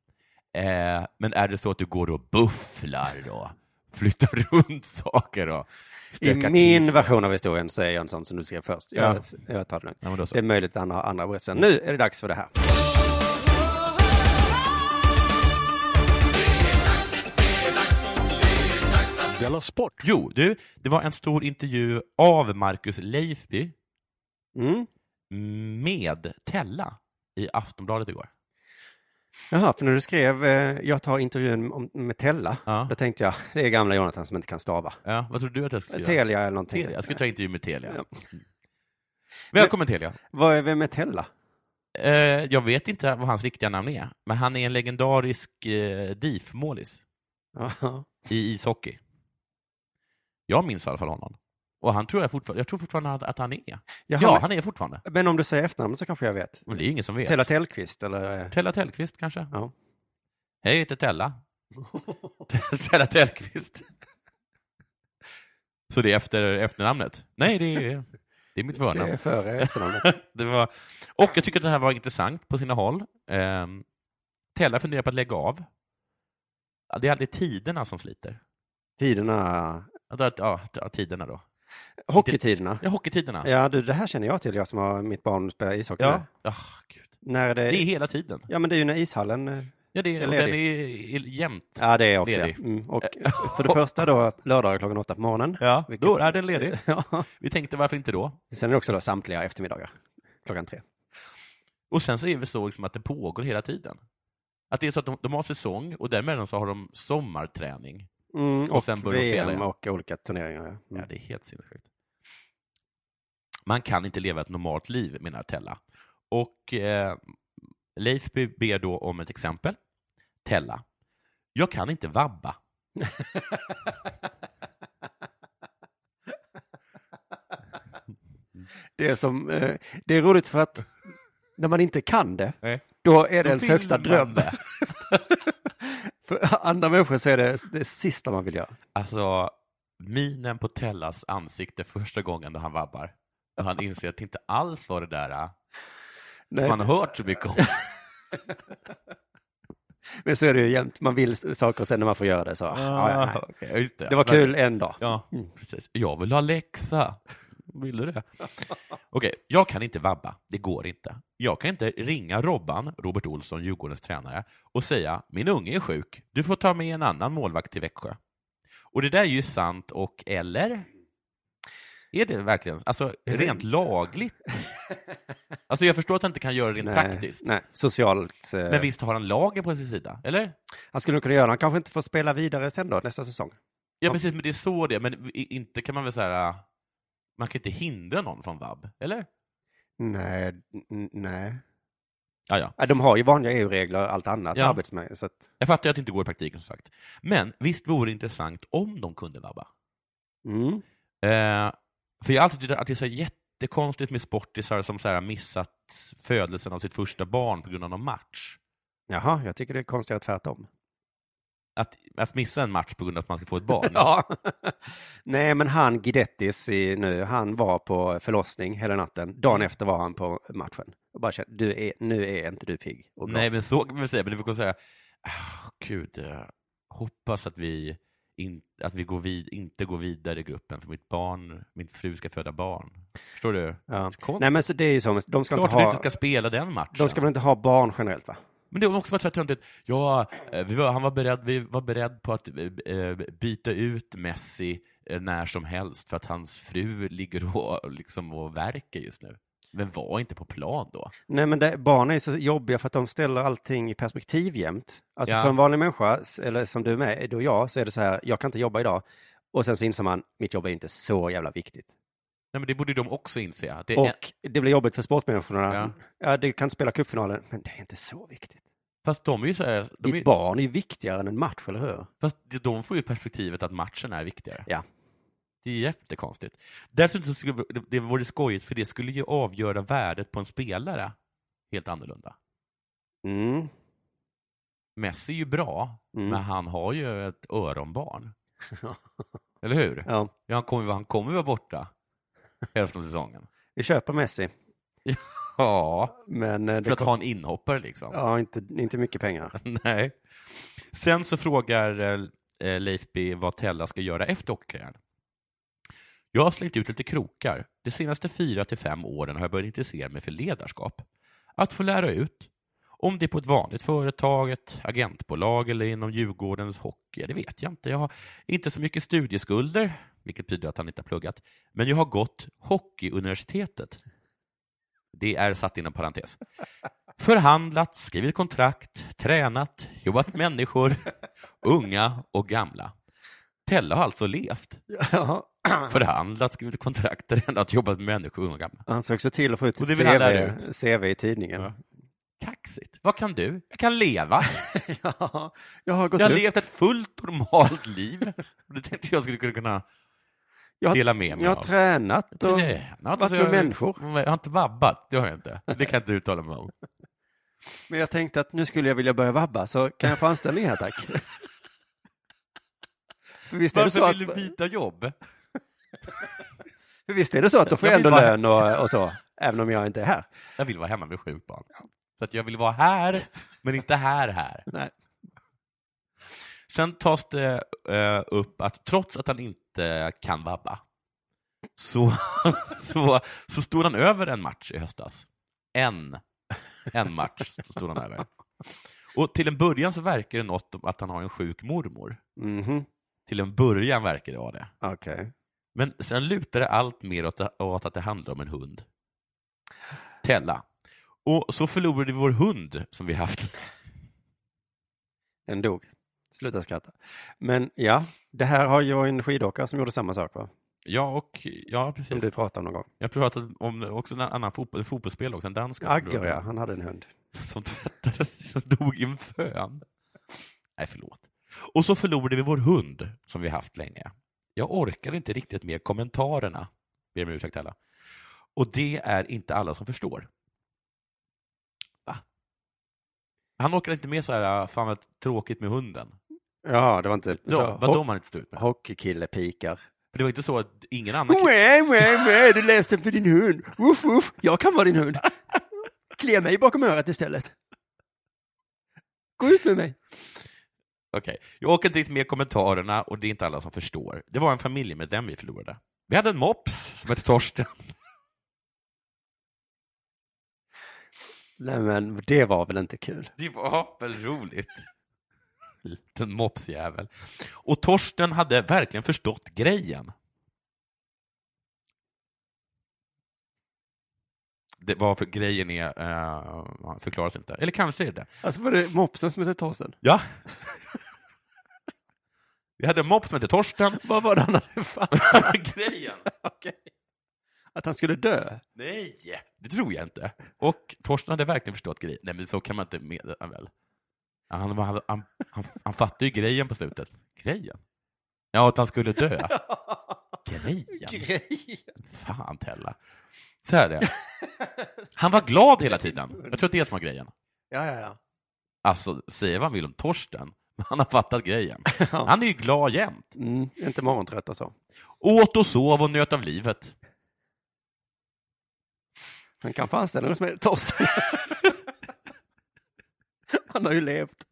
[SPEAKER 4] Eh, men är det så att du går och bufflar då? Flyttar runt saker och
[SPEAKER 3] I
[SPEAKER 4] stökar
[SPEAKER 3] min
[SPEAKER 4] till?
[SPEAKER 3] version av historien så är jag en sån som du skrev först. Jag,
[SPEAKER 4] Ja.
[SPEAKER 3] jag tar det lugnt.
[SPEAKER 4] Ja, men då så.
[SPEAKER 3] Det är möjligt att han har andra berättelser. Nu är det dags för det här.
[SPEAKER 2] Della Sport!
[SPEAKER 4] Jo, du, det var en stor intervju av Marcus Leifby
[SPEAKER 3] Mm.
[SPEAKER 4] med Tella i Aftonbladet igår.
[SPEAKER 3] Jaha, för när du skrev eh, jag tar intervjun om, med Tella,
[SPEAKER 4] Ja.
[SPEAKER 3] då tänkte jag det är gamla Jonathan som inte kan stava.
[SPEAKER 4] Ja, vad tror du att jag ska skriva?
[SPEAKER 3] Telia eller någonting.
[SPEAKER 4] Telia. Jag ska ta intervju med Telia. Mm.
[SPEAKER 3] Ja.
[SPEAKER 4] Välkommen Telia.
[SPEAKER 3] Vad är, vem är Tella?
[SPEAKER 4] Eh, jag vet inte vad hans riktiga namn är, men han är en legendarisk eh, DIF-målis
[SPEAKER 3] Ja.
[SPEAKER 4] i ishockey. Jag minns i alla fall honom. Och han tror jag fortfarande, jag tror fortfarande att- att han är.
[SPEAKER 3] Jaha,
[SPEAKER 4] ja,
[SPEAKER 3] men-
[SPEAKER 4] han är fortfarande.
[SPEAKER 3] Men om du säger efternamnet så kanske jag vet.
[SPEAKER 4] Men det är ingen som vet.
[SPEAKER 3] Tella Tellqvist eller? eh,
[SPEAKER 4] Tella Tellqvist kanske?
[SPEAKER 3] Ja.
[SPEAKER 4] Hej, jag heter Tella. Tella Tellqvist. Så det är efter efternamnet? Nej, det är, det är mitt
[SPEAKER 3] Det är
[SPEAKER 4] förnamn.
[SPEAKER 3] före efternamnet.
[SPEAKER 4] Det var, och jag tycker att det här var intressant på sina håll. Ehm, Tella funderar på att lägga av. Ja, Det är aldrig tiderna som sliter.
[SPEAKER 3] Tiderna.
[SPEAKER 4] Ja, det- Ja, t- ja, tiderna då.
[SPEAKER 3] Hockeytiderna.
[SPEAKER 4] Ja, hockeytiderna.
[SPEAKER 3] Ja, du, det här känner jag till, jag som har mitt barn spelar ishockey.
[SPEAKER 4] Ja.
[SPEAKER 3] med.
[SPEAKER 4] Ah, gud.
[SPEAKER 3] När det,
[SPEAKER 4] Det är hela tiden.
[SPEAKER 3] Ja, men det är ju när ishallen... eh,
[SPEAKER 4] Ja, det är, och den är, är Eh, jämnt.
[SPEAKER 3] Ja, det är jag också. Ja.
[SPEAKER 4] Ledig.
[SPEAKER 3] Mm, och för det första då, lördagar klockan åtta på morgonen.
[SPEAKER 4] Ja,
[SPEAKER 3] Vilket-
[SPEAKER 4] då är den ledig.
[SPEAKER 3] Ja.
[SPEAKER 4] Vi tänkte varför inte då?
[SPEAKER 3] Sen är det också då samtliga eftermiddagar klockan tre.
[SPEAKER 4] Och sen så är det så liksom att det pågår hela tiden. Att det är så att de, de har säsong och däremellan så har de sommarträning.
[SPEAKER 3] Mm,
[SPEAKER 4] Och sen börjar de spela
[SPEAKER 3] VM
[SPEAKER 4] igen.
[SPEAKER 3] och olika turneringar. Ja.
[SPEAKER 4] Ja,
[SPEAKER 3] Mm.
[SPEAKER 4] det är helt sinnessjukt. Man kan inte leva ett normalt liv, menar Tella. Och eh, Leif ber då om ett exempel. Tella. Jag kan inte vabba.
[SPEAKER 3] Det, är som, eh, det är roligt för att när man inte kan det,
[SPEAKER 4] Nej.
[SPEAKER 3] då är det
[SPEAKER 4] Då
[SPEAKER 3] ens
[SPEAKER 4] vill
[SPEAKER 3] högsta
[SPEAKER 4] man
[SPEAKER 3] dröm.
[SPEAKER 4] det.
[SPEAKER 3] För andra människor så är det det sista man vill göra.
[SPEAKER 4] Alltså, minen på Tellas ansikte första gången när han vabbar. Och han inser att det inte alls var det där eh,
[SPEAKER 3] Nej.
[SPEAKER 4] man har hört så mycket om.
[SPEAKER 3] Men så är det ju jämt. Man vill s- saker och sen när man får göra det så, ah, ja, nej.
[SPEAKER 4] okej, ja, just det.
[SPEAKER 3] Det var
[SPEAKER 4] Men-
[SPEAKER 3] kul en dag.
[SPEAKER 4] Ja, mm, precis. Jag vill ha läxa. Vill du det? Okej, jag kan inte vabba. Det går inte. Jag kan inte ringa Robban, Robert Olsson, Djurgårdens tränare, och säga min unge är sjuk. Du får ta med en annan målvakt till Växjö. Och det där är ju sant och eller? Är det verkligen, alltså rent lagligt? Alltså jag förstår att han inte kan göra det rent
[SPEAKER 3] Nej,
[SPEAKER 4] praktiskt.
[SPEAKER 3] Nej, socialt. eh,
[SPEAKER 4] Men visst har han lagen på sin sida, eller?
[SPEAKER 3] Han skulle nog kunna göra, han kanske inte får spela vidare sen då, nästa säsong.
[SPEAKER 4] Ja,
[SPEAKER 3] Ja.
[SPEAKER 4] precis, men det är så det är. Men i- inte kan man väl säga man kan inte hindra någon från vab, eller?
[SPEAKER 3] Nej, n- nej.
[SPEAKER 4] Ja, ja.
[SPEAKER 3] Ja, De har ju vanliga EU-regler och allt annat
[SPEAKER 4] Ja.
[SPEAKER 3] arbetsmässigt. Så att,
[SPEAKER 4] Jag fattar ju att det inte går i praktiken, som sagt. Men visst vore det intressant om de kunde vabba?
[SPEAKER 3] mm.
[SPEAKER 4] Eh, för jag har alltid tyckt att det är så här jättekonstigt med sportisar som så här missat födelsen av sitt första barn på grund av någon match.
[SPEAKER 3] Jaha, jag tycker det är konstigare
[SPEAKER 4] Mm.
[SPEAKER 3] tvärtom.
[SPEAKER 4] Att, att missa en match på grund av att man ska få ett barn.
[SPEAKER 3] Ja. Nej, men han Guidettis i, nu, han var på förlossning hela natten. Dagen
[SPEAKER 4] Mm.
[SPEAKER 3] efter var han på matchen. Och bara kände, du är, nu är inte du pigg och glad.
[SPEAKER 4] Nej, men så kan man väl säga. Men vi får kunna säga, ah, gud, eh, hoppas att vi, in, att vi går vid, inte går vidare i gruppen, för mitt barn, min fru ska föda barn. Förstår du?
[SPEAKER 3] Ja.
[SPEAKER 4] Konstigt.
[SPEAKER 3] Nej, men så det är ju så, de ska,
[SPEAKER 4] Klart
[SPEAKER 3] inte
[SPEAKER 4] att vi
[SPEAKER 3] ha,
[SPEAKER 4] inte ska spela den matchen.
[SPEAKER 3] de ska väl inte ha barn generellt va?
[SPEAKER 4] Men det har också varit så här töntigt. Ja, eh, vi var, han var beredd, vi var beredd på att eh, eh, byta ut Messi eh, när som helst för att hans fru ligger och, liksom, och verkar just nu. Men var inte på plan då.
[SPEAKER 3] Nej, men det, barn är ju så jobbiga för att de ställer allting i perspektiv jämt. Alltså
[SPEAKER 4] Ja.
[SPEAKER 3] för en vanlig människa, s- eller som du med, då jag, så är det så här, jag kan inte jobba idag. Och sen så inser man, mitt jobb är inte så jävla viktigt.
[SPEAKER 4] Nej, men det borde ju de också inse. Att det är en,
[SPEAKER 3] Och det blir jobbigt för sportmänniskorna. Ja.
[SPEAKER 4] Ja.
[SPEAKER 3] du kan inte spela cupfinalen, men det är inte så viktigt.
[SPEAKER 4] fast de är ju så här, de,
[SPEAKER 3] Ditt
[SPEAKER 4] är,
[SPEAKER 3] barn är ju viktigare än en match, eller hur?
[SPEAKER 4] fast de får ju perspektivet att matchen är viktigare.
[SPEAKER 3] Ja.
[SPEAKER 4] Det är jättekonstigt. Dessutom så skulle, det- det vore skojigt, för det skulle ju avgöra värdet på en spelare helt annorlunda.
[SPEAKER 3] Mm.
[SPEAKER 4] Messi är ju bra,
[SPEAKER 3] Mm.
[SPEAKER 4] men han har ju ett öronbarn. Eller hur?
[SPEAKER 3] Ja.
[SPEAKER 4] Ja, han kommer, han kommer vara borta hälften av säsongen.
[SPEAKER 3] Vi köper Messi,
[SPEAKER 4] Ja,
[SPEAKER 3] men eh,
[SPEAKER 4] för
[SPEAKER 3] det
[SPEAKER 4] att
[SPEAKER 3] kom...
[SPEAKER 4] ha en inhoppare liksom.
[SPEAKER 3] ja, inte, inte mycket pengar.
[SPEAKER 4] Nej. Sen så frågar eh, eh, Leif B vad Tella ska göra efter hockeykarriären. Jag har slängt ut lite krokar. De senaste fyra till fem åren har jag börjat intressera mig för ledarskap. Att få lära ut. Om det är på ett vanligt företag, ett agentbolag eller inom Djurgårdens hockey, det vet jag inte. Jag har inte så mycket studieskulder, vilket betyder att han inte har pluggat. Men jag har gått Hockeyuniversitetet. Det är satt inom parentes förhandlat, skrivit kontrakt, tränat, jobbat med människor, unga och gamla. Tella har alltså levt,
[SPEAKER 3] Ja.
[SPEAKER 4] förhandlat, skrivit kontrakt, tränat, jobbat med människor, unga och gamla.
[SPEAKER 3] Han såg så till att få ut
[SPEAKER 4] Och
[SPEAKER 3] sitt
[SPEAKER 4] det vill han lära
[SPEAKER 3] CV, CV i tidningen.
[SPEAKER 4] Ja. Kaxigt. Vad kan du? Jag kan leva.
[SPEAKER 3] Ja, jag har gått
[SPEAKER 4] Jag har
[SPEAKER 3] upp.
[SPEAKER 4] levt ett fullt normalt liv. Det tänkte jag skulle kunna
[SPEAKER 3] Jag har-
[SPEAKER 4] dela med mig
[SPEAKER 3] Jag har
[SPEAKER 4] av.
[SPEAKER 3] tränat och
[SPEAKER 4] Tränat,
[SPEAKER 3] varit
[SPEAKER 4] alltså,
[SPEAKER 3] med
[SPEAKER 4] jag-
[SPEAKER 3] människor.
[SPEAKER 4] Jag har inte vabbat, det har jag inte. Det kan jag inte uttala mig om.
[SPEAKER 3] Men jag tänkte att nu skulle jag vilja börja vabba, så kan jag få anställning här tack? För visst, är det så
[SPEAKER 4] Varför
[SPEAKER 3] att,
[SPEAKER 4] vill du byta jobb?
[SPEAKER 3] för visst är det så att då får jag
[SPEAKER 4] Jag vill
[SPEAKER 3] ändå
[SPEAKER 4] bara-
[SPEAKER 3] lön och, och så, även om jag inte är här?
[SPEAKER 4] Jag vill vara hemma med sjukt barn. Så att jag vill vara här, men inte här här.
[SPEAKER 3] Nej.
[SPEAKER 4] Sen tas det eh, upp att trots att han inte kan vabba, så, så, så stod han över en match i höstas. En, en match så stod han över. Och till en början så verkar det något om att han har en sjuk mormor.
[SPEAKER 3] Mhm,
[SPEAKER 4] Till en början verkar det vara det.
[SPEAKER 3] okej.
[SPEAKER 4] Men sen lutar det allt mer åt, åt att det handlar om en hund. Tella. Och så förlorade vi vår hund som vi haft.
[SPEAKER 3] Den dog. Sluta skratta. Men ja, det här har jag en skidåkare som gjorde samma sak va?
[SPEAKER 4] Ja, och, ja
[SPEAKER 3] Som
[SPEAKER 4] precis.
[SPEAKER 3] du pratade om någon gång.
[SPEAKER 4] Jag pratade om också en annan fotboll, en fotbollsspelare, också, en dansk.
[SPEAKER 3] Agger ja, han hade en hund.
[SPEAKER 4] Som tvättades, som dog i en fön. Nej, förlåt. Och så förlorade vi vår hund som vi haft länge. Jag orkar inte riktigt med kommentarerna. Ber om ursäkt alla. Och det är inte alla som förstår. Va? Han orkar inte med så här, fan vad tråkigt med hunden.
[SPEAKER 3] Ja, det var inte...
[SPEAKER 4] De,
[SPEAKER 3] så,
[SPEAKER 4] vad de han inte stått ut med.
[SPEAKER 3] Hockeykille pikar.
[SPEAKER 4] För det var inte så att ingen annan...
[SPEAKER 3] Wä, wä, wä, du läste för din hund. Woof, woof, jag kan vara din hund. Klia mig bakom örat istället. Gå ut med mig!
[SPEAKER 4] Okej, jag åker inte riktigt med i kommentarerna och det är inte alla som förstår. Det var en familjemedlem vi förlorade. Vi hade en mops som hette Torsten.
[SPEAKER 3] Nej men det var väl inte kul?
[SPEAKER 4] Det var väl roligt? Liten mopsjävel. Och Torsten hade verkligen förstått grejen. Det, vad för grejen är eh, förklaras inte. Eller kanske är det det.
[SPEAKER 3] Alltså var det mopsen som hette Torsten?
[SPEAKER 4] Ja. Vi hade en mops som hette Torsten.
[SPEAKER 3] Vad var det han hade fattat?
[SPEAKER 4] grejen?
[SPEAKER 3] Okej. Att han skulle dö?
[SPEAKER 4] Nej, det tror jag inte. Och Torsten hade verkligen förstått grejen. Nej, men så kan man inte med ja, väl. Ja, Han, han, han, han, han fattade ju grejen på slutet. Grejen? Ja, att han skulle dö. Grejen?
[SPEAKER 3] Grejen!
[SPEAKER 4] Fan, Tella. Så här är det. Han var glad hela tiden. Jag tror att det är det som var grejen.
[SPEAKER 3] Ja, ja, ja.
[SPEAKER 4] Alltså, säga vad man vill om Torsten, men han har fattat grejen.
[SPEAKER 3] Ja.
[SPEAKER 4] Han är ju glad jämt.
[SPEAKER 3] Mm, inte morgontrött alltså. och så.
[SPEAKER 4] Åt och sov och njöt av livet.
[SPEAKER 3] Han kan få anställa någon som heter Torsten. han har ju levt.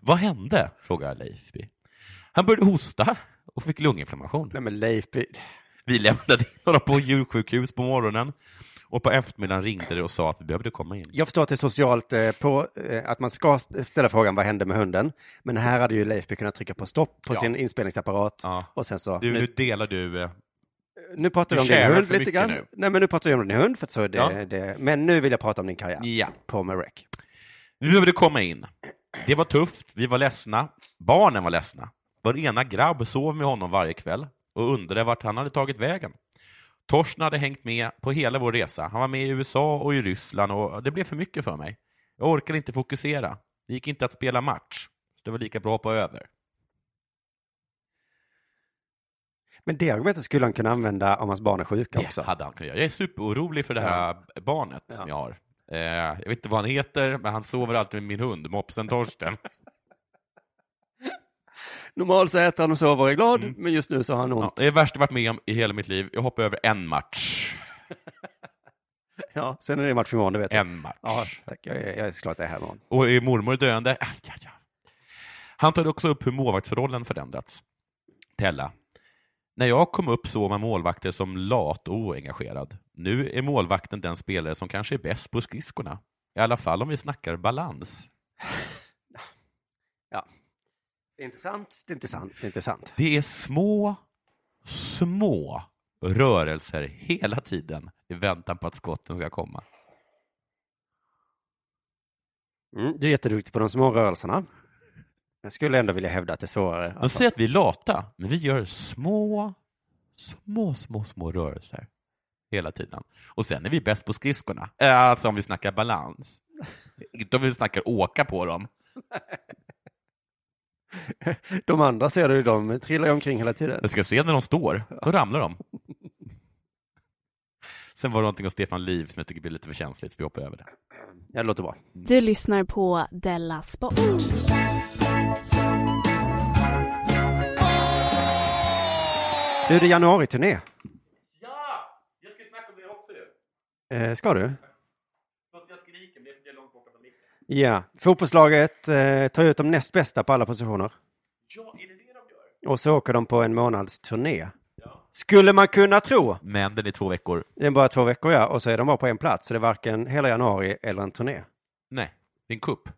[SPEAKER 4] Vad hände? frågar Leifby. Han började hosta och fick lunginflammation.
[SPEAKER 3] Nej men Leif, det-
[SPEAKER 4] Vi lämnade in honom på djursjukhus på morgonen och på eftermiddagen ringde det och sa att vi behövde komma in.
[SPEAKER 3] jag förstår att det är socialt eh, på, eh, att man ska ställa frågan vad hände med hunden? Men här hade ju Leif kunnat trycka på stopp på
[SPEAKER 4] Ja.
[SPEAKER 3] sin inspelningsapparat
[SPEAKER 4] Ja.
[SPEAKER 3] och sen så,
[SPEAKER 4] Du,
[SPEAKER 3] nu,
[SPEAKER 4] nu delar du... eh,
[SPEAKER 3] nu pratar vi
[SPEAKER 4] du
[SPEAKER 3] om din
[SPEAKER 4] sharar
[SPEAKER 3] hund
[SPEAKER 4] för
[SPEAKER 3] lite
[SPEAKER 4] mycket
[SPEAKER 3] grann.
[SPEAKER 4] nu.
[SPEAKER 3] Nej men nu pratar vi om din hund, för att så är det,
[SPEAKER 4] Ja.
[SPEAKER 3] det, men nu vill jag prata om din karriär
[SPEAKER 4] Ja.
[SPEAKER 3] på Marek.
[SPEAKER 4] Vi behövde komma in. Det var tufft, vi var ledsna, barnen var ledsna. Vår ena grabb sov med honom varje kväll och undrade vart han hade tagit vägen. Torsten hade hängt med på hela vår resa. Han var med i USA och i Ryssland och det blev för mycket för mig. Jag orkade inte fokusera. Det gick inte att spela match. Det var lika bra på över.
[SPEAKER 3] Men det argumentet skulle han kunna använda om hans barn är sjuka
[SPEAKER 4] Det
[SPEAKER 3] också.
[SPEAKER 4] hade han kunnat göra. Jag är superorolig för det här barnet som jag har. Eh, jag vet inte vad han heter, men han sover alltid med min hund, mopsen Torsten.
[SPEAKER 3] Normalt så äter han och sover och är glad, men just nu så har han
[SPEAKER 4] Mm. Ja,
[SPEAKER 3] ont.
[SPEAKER 4] det är det värsta jag varit med om i hela mitt liv. Jag hoppar över en match.
[SPEAKER 3] Ja, sen är det match imorgon, det vet jag.
[SPEAKER 4] En match.
[SPEAKER 3] Ja, tack. Jag är, jag är såklart det här imorgon.
[SPEAKER 4] Och är mormor döende? Ah, ja, ja. Han tar också upp hur målvaktsrollen förändrats. Tella. När jag kom upp såg man målvakter som lat och oengagerad. Nu är målvakten den spelare som kanske är bäst på skridskorna. I alla fall om vi snackar balans.
[SPEAKER 3] Det är inte sant, det är inte sant, det är inte sant.
[SPEAKER 4] Det är små, små rörelser hela tiden i väntan på att skotten ska komma.
[SPEAKER 3] Mm, du är jätteduktig på de små rörelserna. Jag skulle ändå vilja hävda att det är svårare.
[SPEAKER 4] De
[SPEAKER 3] Alltså,
[SPEAKER 4] säger att vi är lata, men vi gör små, små, små, små rörelser hela tiden. Och sen är vi bäst på skridskorna, Eh, alltså om vi snackar balans. Inte om vi snackar åka på dem.
[SPEAKER 3] de andra ser du, de trillar ju omkring hela tiden.
[SPEAKER 4] Jag ska se när de står, då ramlar de. Sen var det någonting av Stefan Liv som jag tycker blir lite för känsligt, så vi hoppar över det.
[SPEAKER 3] Ja, det låter bra.
[SPEAKER 5] Du lyssnar på Della Sport.
[SPEAKER 3] Du, det är januari-turné.
[SPEAKER 4] Ja! Jag ska snacka om det också ju.
[SPEAKER 3] Eh, ska du?
[SPEAKER 4] Så att jag skriker, men det är för att jag är långt borta från micken.
[SPEAKER 3] Ja. Fotbollslaget eh, tar ut de näst bästa på alla positioner.
[SPEAKER 4] Ja, är det det de gör?
[SPEAKER 3] Och så åker de på en månads turné. Skulle man kunna tro.
[SPEAKER 4] Men den är två veckor.
[SPEAKER 3] Det är bara två veckor, ja. Och så är de bara på en plats. Så det är varken hela januari eller en turné.
[SPEAKER 4] Nej, det är en kupp.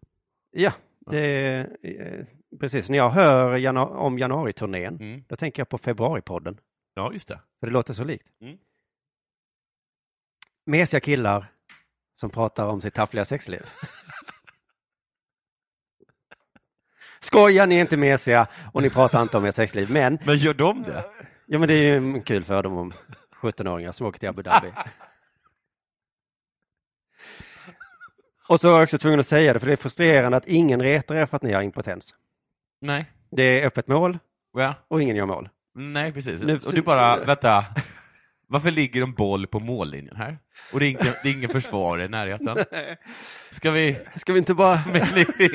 [SPEAKER 3] Ja, det är, eh, precis. När jag hör janu- om januariturnén,
[SPEAKER 4] Mm.
[SPEAKER 3] då tänker jag på februaripodden.
[SPEAKER 4] Ja, just det.
[SPEAKER 3] För det låter så likt.
[SPEAKER 4] Mm.
[SPEAKER 3] Mesiga killar som pratar om sitt taffliga sexliv. Skoja, ni är inte mesiga och ni pratar inte om ert sexliv. Men,
[SPEAKER 4] Men gör de det?
[SPEAKER 3] ja, men det är ju en kul fördom om 17-åringar som åker till Abu Dhabi. och så var jag också tvungen att säga det, för det är frustrerande att ingen retar er för att ni har impotens.
[SPEAKER 4] Nej.
[SPEAKER 3] Det är öppet mål
[SPEAKER 4] Ja.
[SPEAKER 3] och ingen gör mål.
[SPEAKER 4] Nej, precis.
[SPEAKER 3] Nu-
[SPEAKER 4] och du bara, vänta. Varför ligger en boll på mållinjen här? Och det är ingen, det är ingen försvar i närheten. Ska vi...
[SPEAKER 3] Ska vi inte bara...
[SPEAKER 4] Men det är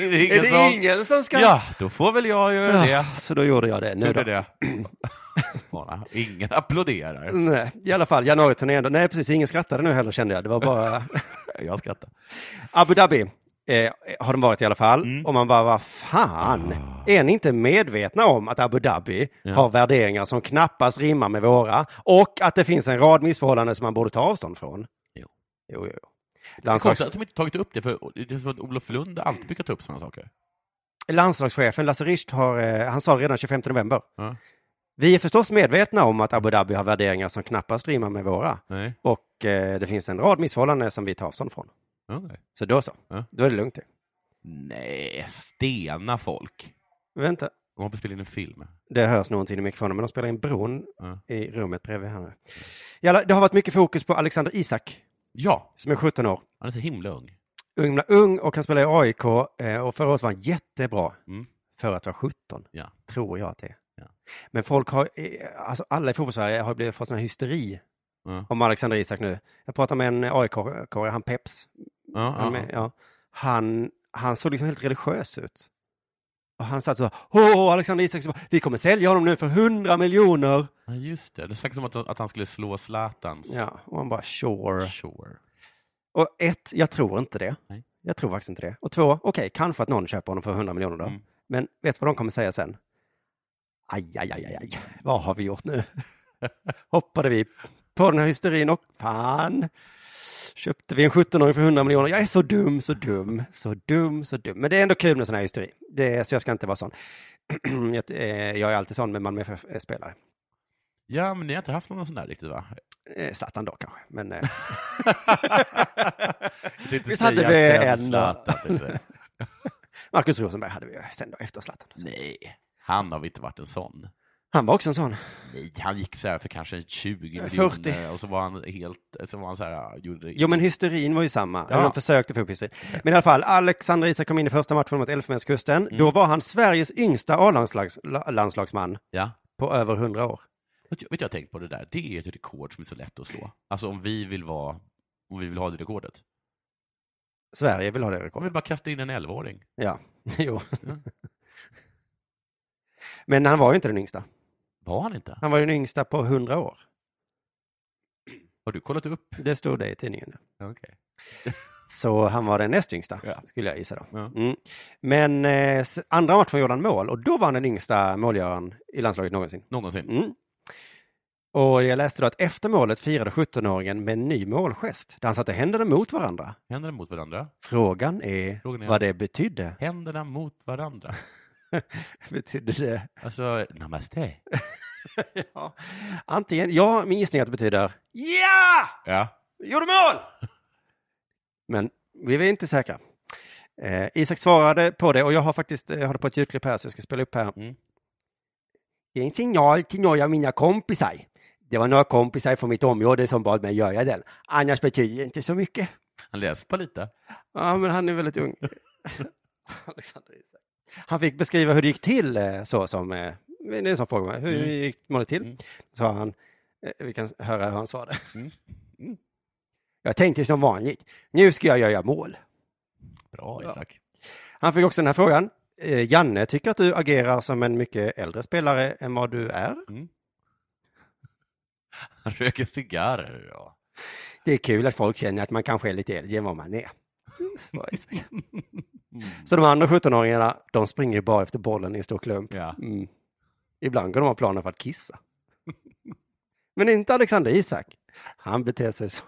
[SPEAKER 3] Är
[SPEAKER 4] ingen
[SPEAKER 3] det
[SPEAKER 4] som...
[SPEAKER 3] ingen som ska...
[SPEAKER 4] Ja, då får väl jag göra
[SPEAKER 3] Ja,
[SPEAKER 4] det.
[SPEAKER 3] Så då gjorde jag det. Nu
[SPEAKER 4] Gjorde
[SPEAKER 3] då. Mm.
[SPEAKER 4] det. Bara, Ingen applåderar.
[SPEAKER 3] Nej, I alla fall, januariturnén. då. Nej, precis, ingen skrattade nu heller kände jag. Det var bara
[SPEAKER 4] Jag skrattar.
[SPEAKER 3] Abu Dhabi. Eh, har de varit i alla fall.
[SPEAKER 4] Mm. Ah.
[SPEAKER 3] Och man bara, vad fan, är ni inte medvetna om att Abu Dhabi
[SPEAKER 4] Ja.
[SPEAKER 3] har värderingar som knappast rimmar med våra och att det finns en rad missförhållanden som man borde ta avstånd från?
[SPEAKER 4] Jo.
[SPEAKER 3] jo, jo. jo.
[SPEAKER 4] Det är
[SPEAKER 3] Landslags...
[SPEAKER 4] konstigt att de inte tagit upp det, för det är som att Olof Lund alltid brukar ta upp sådana saker.
[SPEAKER 3] Landslagschefen Lasse Richt har, eh, han sa det redan 25 november.
[SPEAKER 4] Ja.
[SPEAKER 3] Vi är förstås medvetna om att Abu Dhabi har värderingar som knappast rimmar med våra
[SPEAKER 4] Nej.
[SPEAKER 3] och eh, det finns en rad missförhållanden som vi tar avstånd från.
[SPEAKER 4] Ja, nej.
[SPEAKER 3] Så då så,
[SPEAKER 4] Ja.
[SPEAKER 3] då är det lugnt. det.
[SPEAKER 4] nej, stena folk.
[SPEAKER 3] Vänta,
[SPEAKER 4] De har på spela in en film.
[SPEAKER 3] det hörs någonting i mikrofonen, men de spelar in bron
[SPEAKER 4] Ja.
[SPEAKER 3] i rummet bredvid här nu. Jalla, det har varit mycket fokus på Alexander Isak,
[SPEAKER 4] Ja,
[SPEAKER 3] som är 17 år.
[SPEAKER 4] han är så himla ung.
[SPEAKER 3] Ung, ung och kan spela i AIK eh, och förra året var han jättebra
[SPEAKER 4] Mm.
[SPEAKER 3] för att vara 17.
[SPEAKER 4] Ja.
[SPEAKER 3] Tror jag att det är.
[SPEAKER 4] Ja.
[SPEAKER 3] Men folk har, eh, alltså alla i fotbollssverige har blivit fått sån här hysteri
[SPEAKER 4] Ja.
[SPEAKER 3] om Alexander Isak nu. Jag pratade med en aik han Peps.
[SPEAKER 4] Ja,
[SPEAKER 3] Han,
[SPEAKER 4] ja.
[SPEAKER 3] med, ja. han, han såg liksom helt religiös ut. Och han satt så här, åh, Alexander Isak, vi kommer sälja honom nu för 100 miljoner.
[SPEAKER 4] ja, just det. Det snackades om att, att han skulle slå Zlatans.
[SPEAKER 3] Ja, och han bara, sure.
[SPEAKER 4] Sure.
[SPEAKER 3] Och ett, jag tror inte det.
[SPEAKER 4] Nej.
[SPEAKER 3] Jag tror faktiskt inte det. Och två, okej, kanske att någon köper honom för 100 miljoner då.
[SPEAKER 4] Mm.
[SPEAKER 3] Men vet du vad de kommer säga sen? Aj, aj, aj, aj, aj. vad har vi gjort nu? Hoppade vi på den här hysterin och fan, köpte vi en 17-åring för 100 miljoner. Jag är så dum, så dum, så dum, så dum. Men det är ändå kul med sån här hysteri. Det, är- så jag ska inte vara sån. jag, eh, jag är eh, alltid sån med Malmö FF-spelare.
[SPEAKER 4] Ja, men ni har inte haft någon sån där riktigt, va?
[SPEAKER 3] Eh, Zlatan då kanske, men eh,
[SPEAKER 4] Jag tänkte
[SPEAKER 3] Visst hade
[SPEAKER 4] säga
[SPEAKER 3] vi
[SPEAKER 4] sen
[SPEAKER 3] en-
[SPEAKER 4] Zlatan, tänkte jag.
[SPEAKER 3] Marcus Rosenberg hade vi ju sen då efter Zlatan.
[SPEAKER 4] Nej, han har väl inte varit en sån.
[SPEAKER 3] Han var också en sån.
[SPEAKER 4] Nej, han gick så här för kanske
[SPEAKER 3] Eh,
[SPEAKER 4] 20
[SPEAKER 3] 40.
[SPEAKER 4] miljoner och så var han helt, så var han så här, gjorde
[SPEAKER 3] Jo, men hysterin var ju samma.
[SPEAKER 4] Ja.
[SPEAKER 3] Ja. De försökte få upp hysterin. Men i alla fall, Alexander Isak kom in i första matchen mot Elfenbenskusten.
[SPEAKER 4] Mm.
[SPEAKER 3] Då var han Sveriges yngsta A-landslagsman
[SPEAKER 4] Ja.
[SPEAKER 3] på över 100 år.
[SPEAKER 4] Vet du, vet du, jag har tänkt på det där, det är ett rekord som är så lätt att slå. Alltså om vi vill vara, om vi vill ha det rekordet.
[SPEAKER 3] Sverige vill ha det
[SPEAKER 4] Om
[SPEAKER 3] rekordet.
[SPEAKER 4] vi bara kasta in en 11-åring.
[SPEAKER 3] Ja, jo.
[SPEAKER 4] Ja.
[SPEAKER 3] Men han var ju inte den yngsta.
[SPEAKER 4] Var han inte?
[SPEAKER 3] Han var ju den yngsta på 100 år.
[SPEAKER 4] Har du kollat upp?
[SPEAKER 3] Det stod det i tidningen.
[SPEAKER 4] Okay.
[SPEAKER 3] Så han var den näst yngsta,
[SPEAKER 4] Ja.
[SPEAKER 3] skulle jag gissa då.
[SPEAKER 4] Ja.
[SPEAKER 3] Mm. Men eh, s- andra matchen gjorde han mål och då var han den yngsta målgöraren i landslaget någonsin.
[SPEAKER 4] Någonsin?
[SPEAKER 3] Mm. Och jag läste då att efter målet firade 17-åringen med en ny målgest där han satte händerna mot varandra.
[SPEAKER 4] Händerna mot varandra?
[SPEAKER 3] Frågan är,
[SPEAKER 4] Frågan är-
[SPEAKER 3] vad det betydde.
[SPEAKER 4] Händerna mot varandra.
[SPEAKER 3] betydde det?
[SPEAKER 4] Alltså, namaste.
[SPEAKER 3] ja. Antingen, ja, min gissning är att det betyder ja,
[SPEAKER 4] Ja.
[SPEAKER 3] gjorde mål! Men vi är inte säkra. Eh, Isak svarade på det och jag har faktiskt, eh, jag har det på ett ljudklipp här så jag ska spela upp här.
[SPEAKER 4] Mm.
[SPEAKER 3] Det är en signal till några av mina kompisar. Det var några kompisar från mitt område som bad mig göra den. Annars betyder det inte så mycket.
[SPEAKER 4] Han läspar lite.
[SPEAKER 3] Ja, men han är väldigt ung. Alexander Isak. Han fick beskriva hur det gick till, eh, så som, eh, det är en sån fråga, hur
[SPEAKER 4] Mm.
[SPEAKER 3] gick målet till?
[SPEAKER 4] Mm.
[SPEAKER 3] Sa han, Eh, vi kan höra hur han svarade.
[SPEAKER 4] Mm. Mm.
[SPEAKER 3] Jag tänkte som vanligt, nu ska jag göra mål.
[SPEAKER 4] Bra,
[SPEAKER 3] Ja.
[SPEAKER 4] Isak.
[SPEAKER 3] Han fick också den här frågan, eh, Janne tycker att du agerar som en mycket äldre spelare än vad du är.
[SPEAKER 4] Han röker cigarrer. Ja.
[SPEAKER 3] Det är kul att folk känner att man kanske är lite äldre än vad man är. Så Isak. Så de andra 17-åringarna, de springer ju bara efter bollen i en stor klump.
[SPEAKER 4] Ja.
[SPEAKER 3] Mm. Ibland går de av planen för att kissa. Men inte Alexander Isak. Han beter sig så.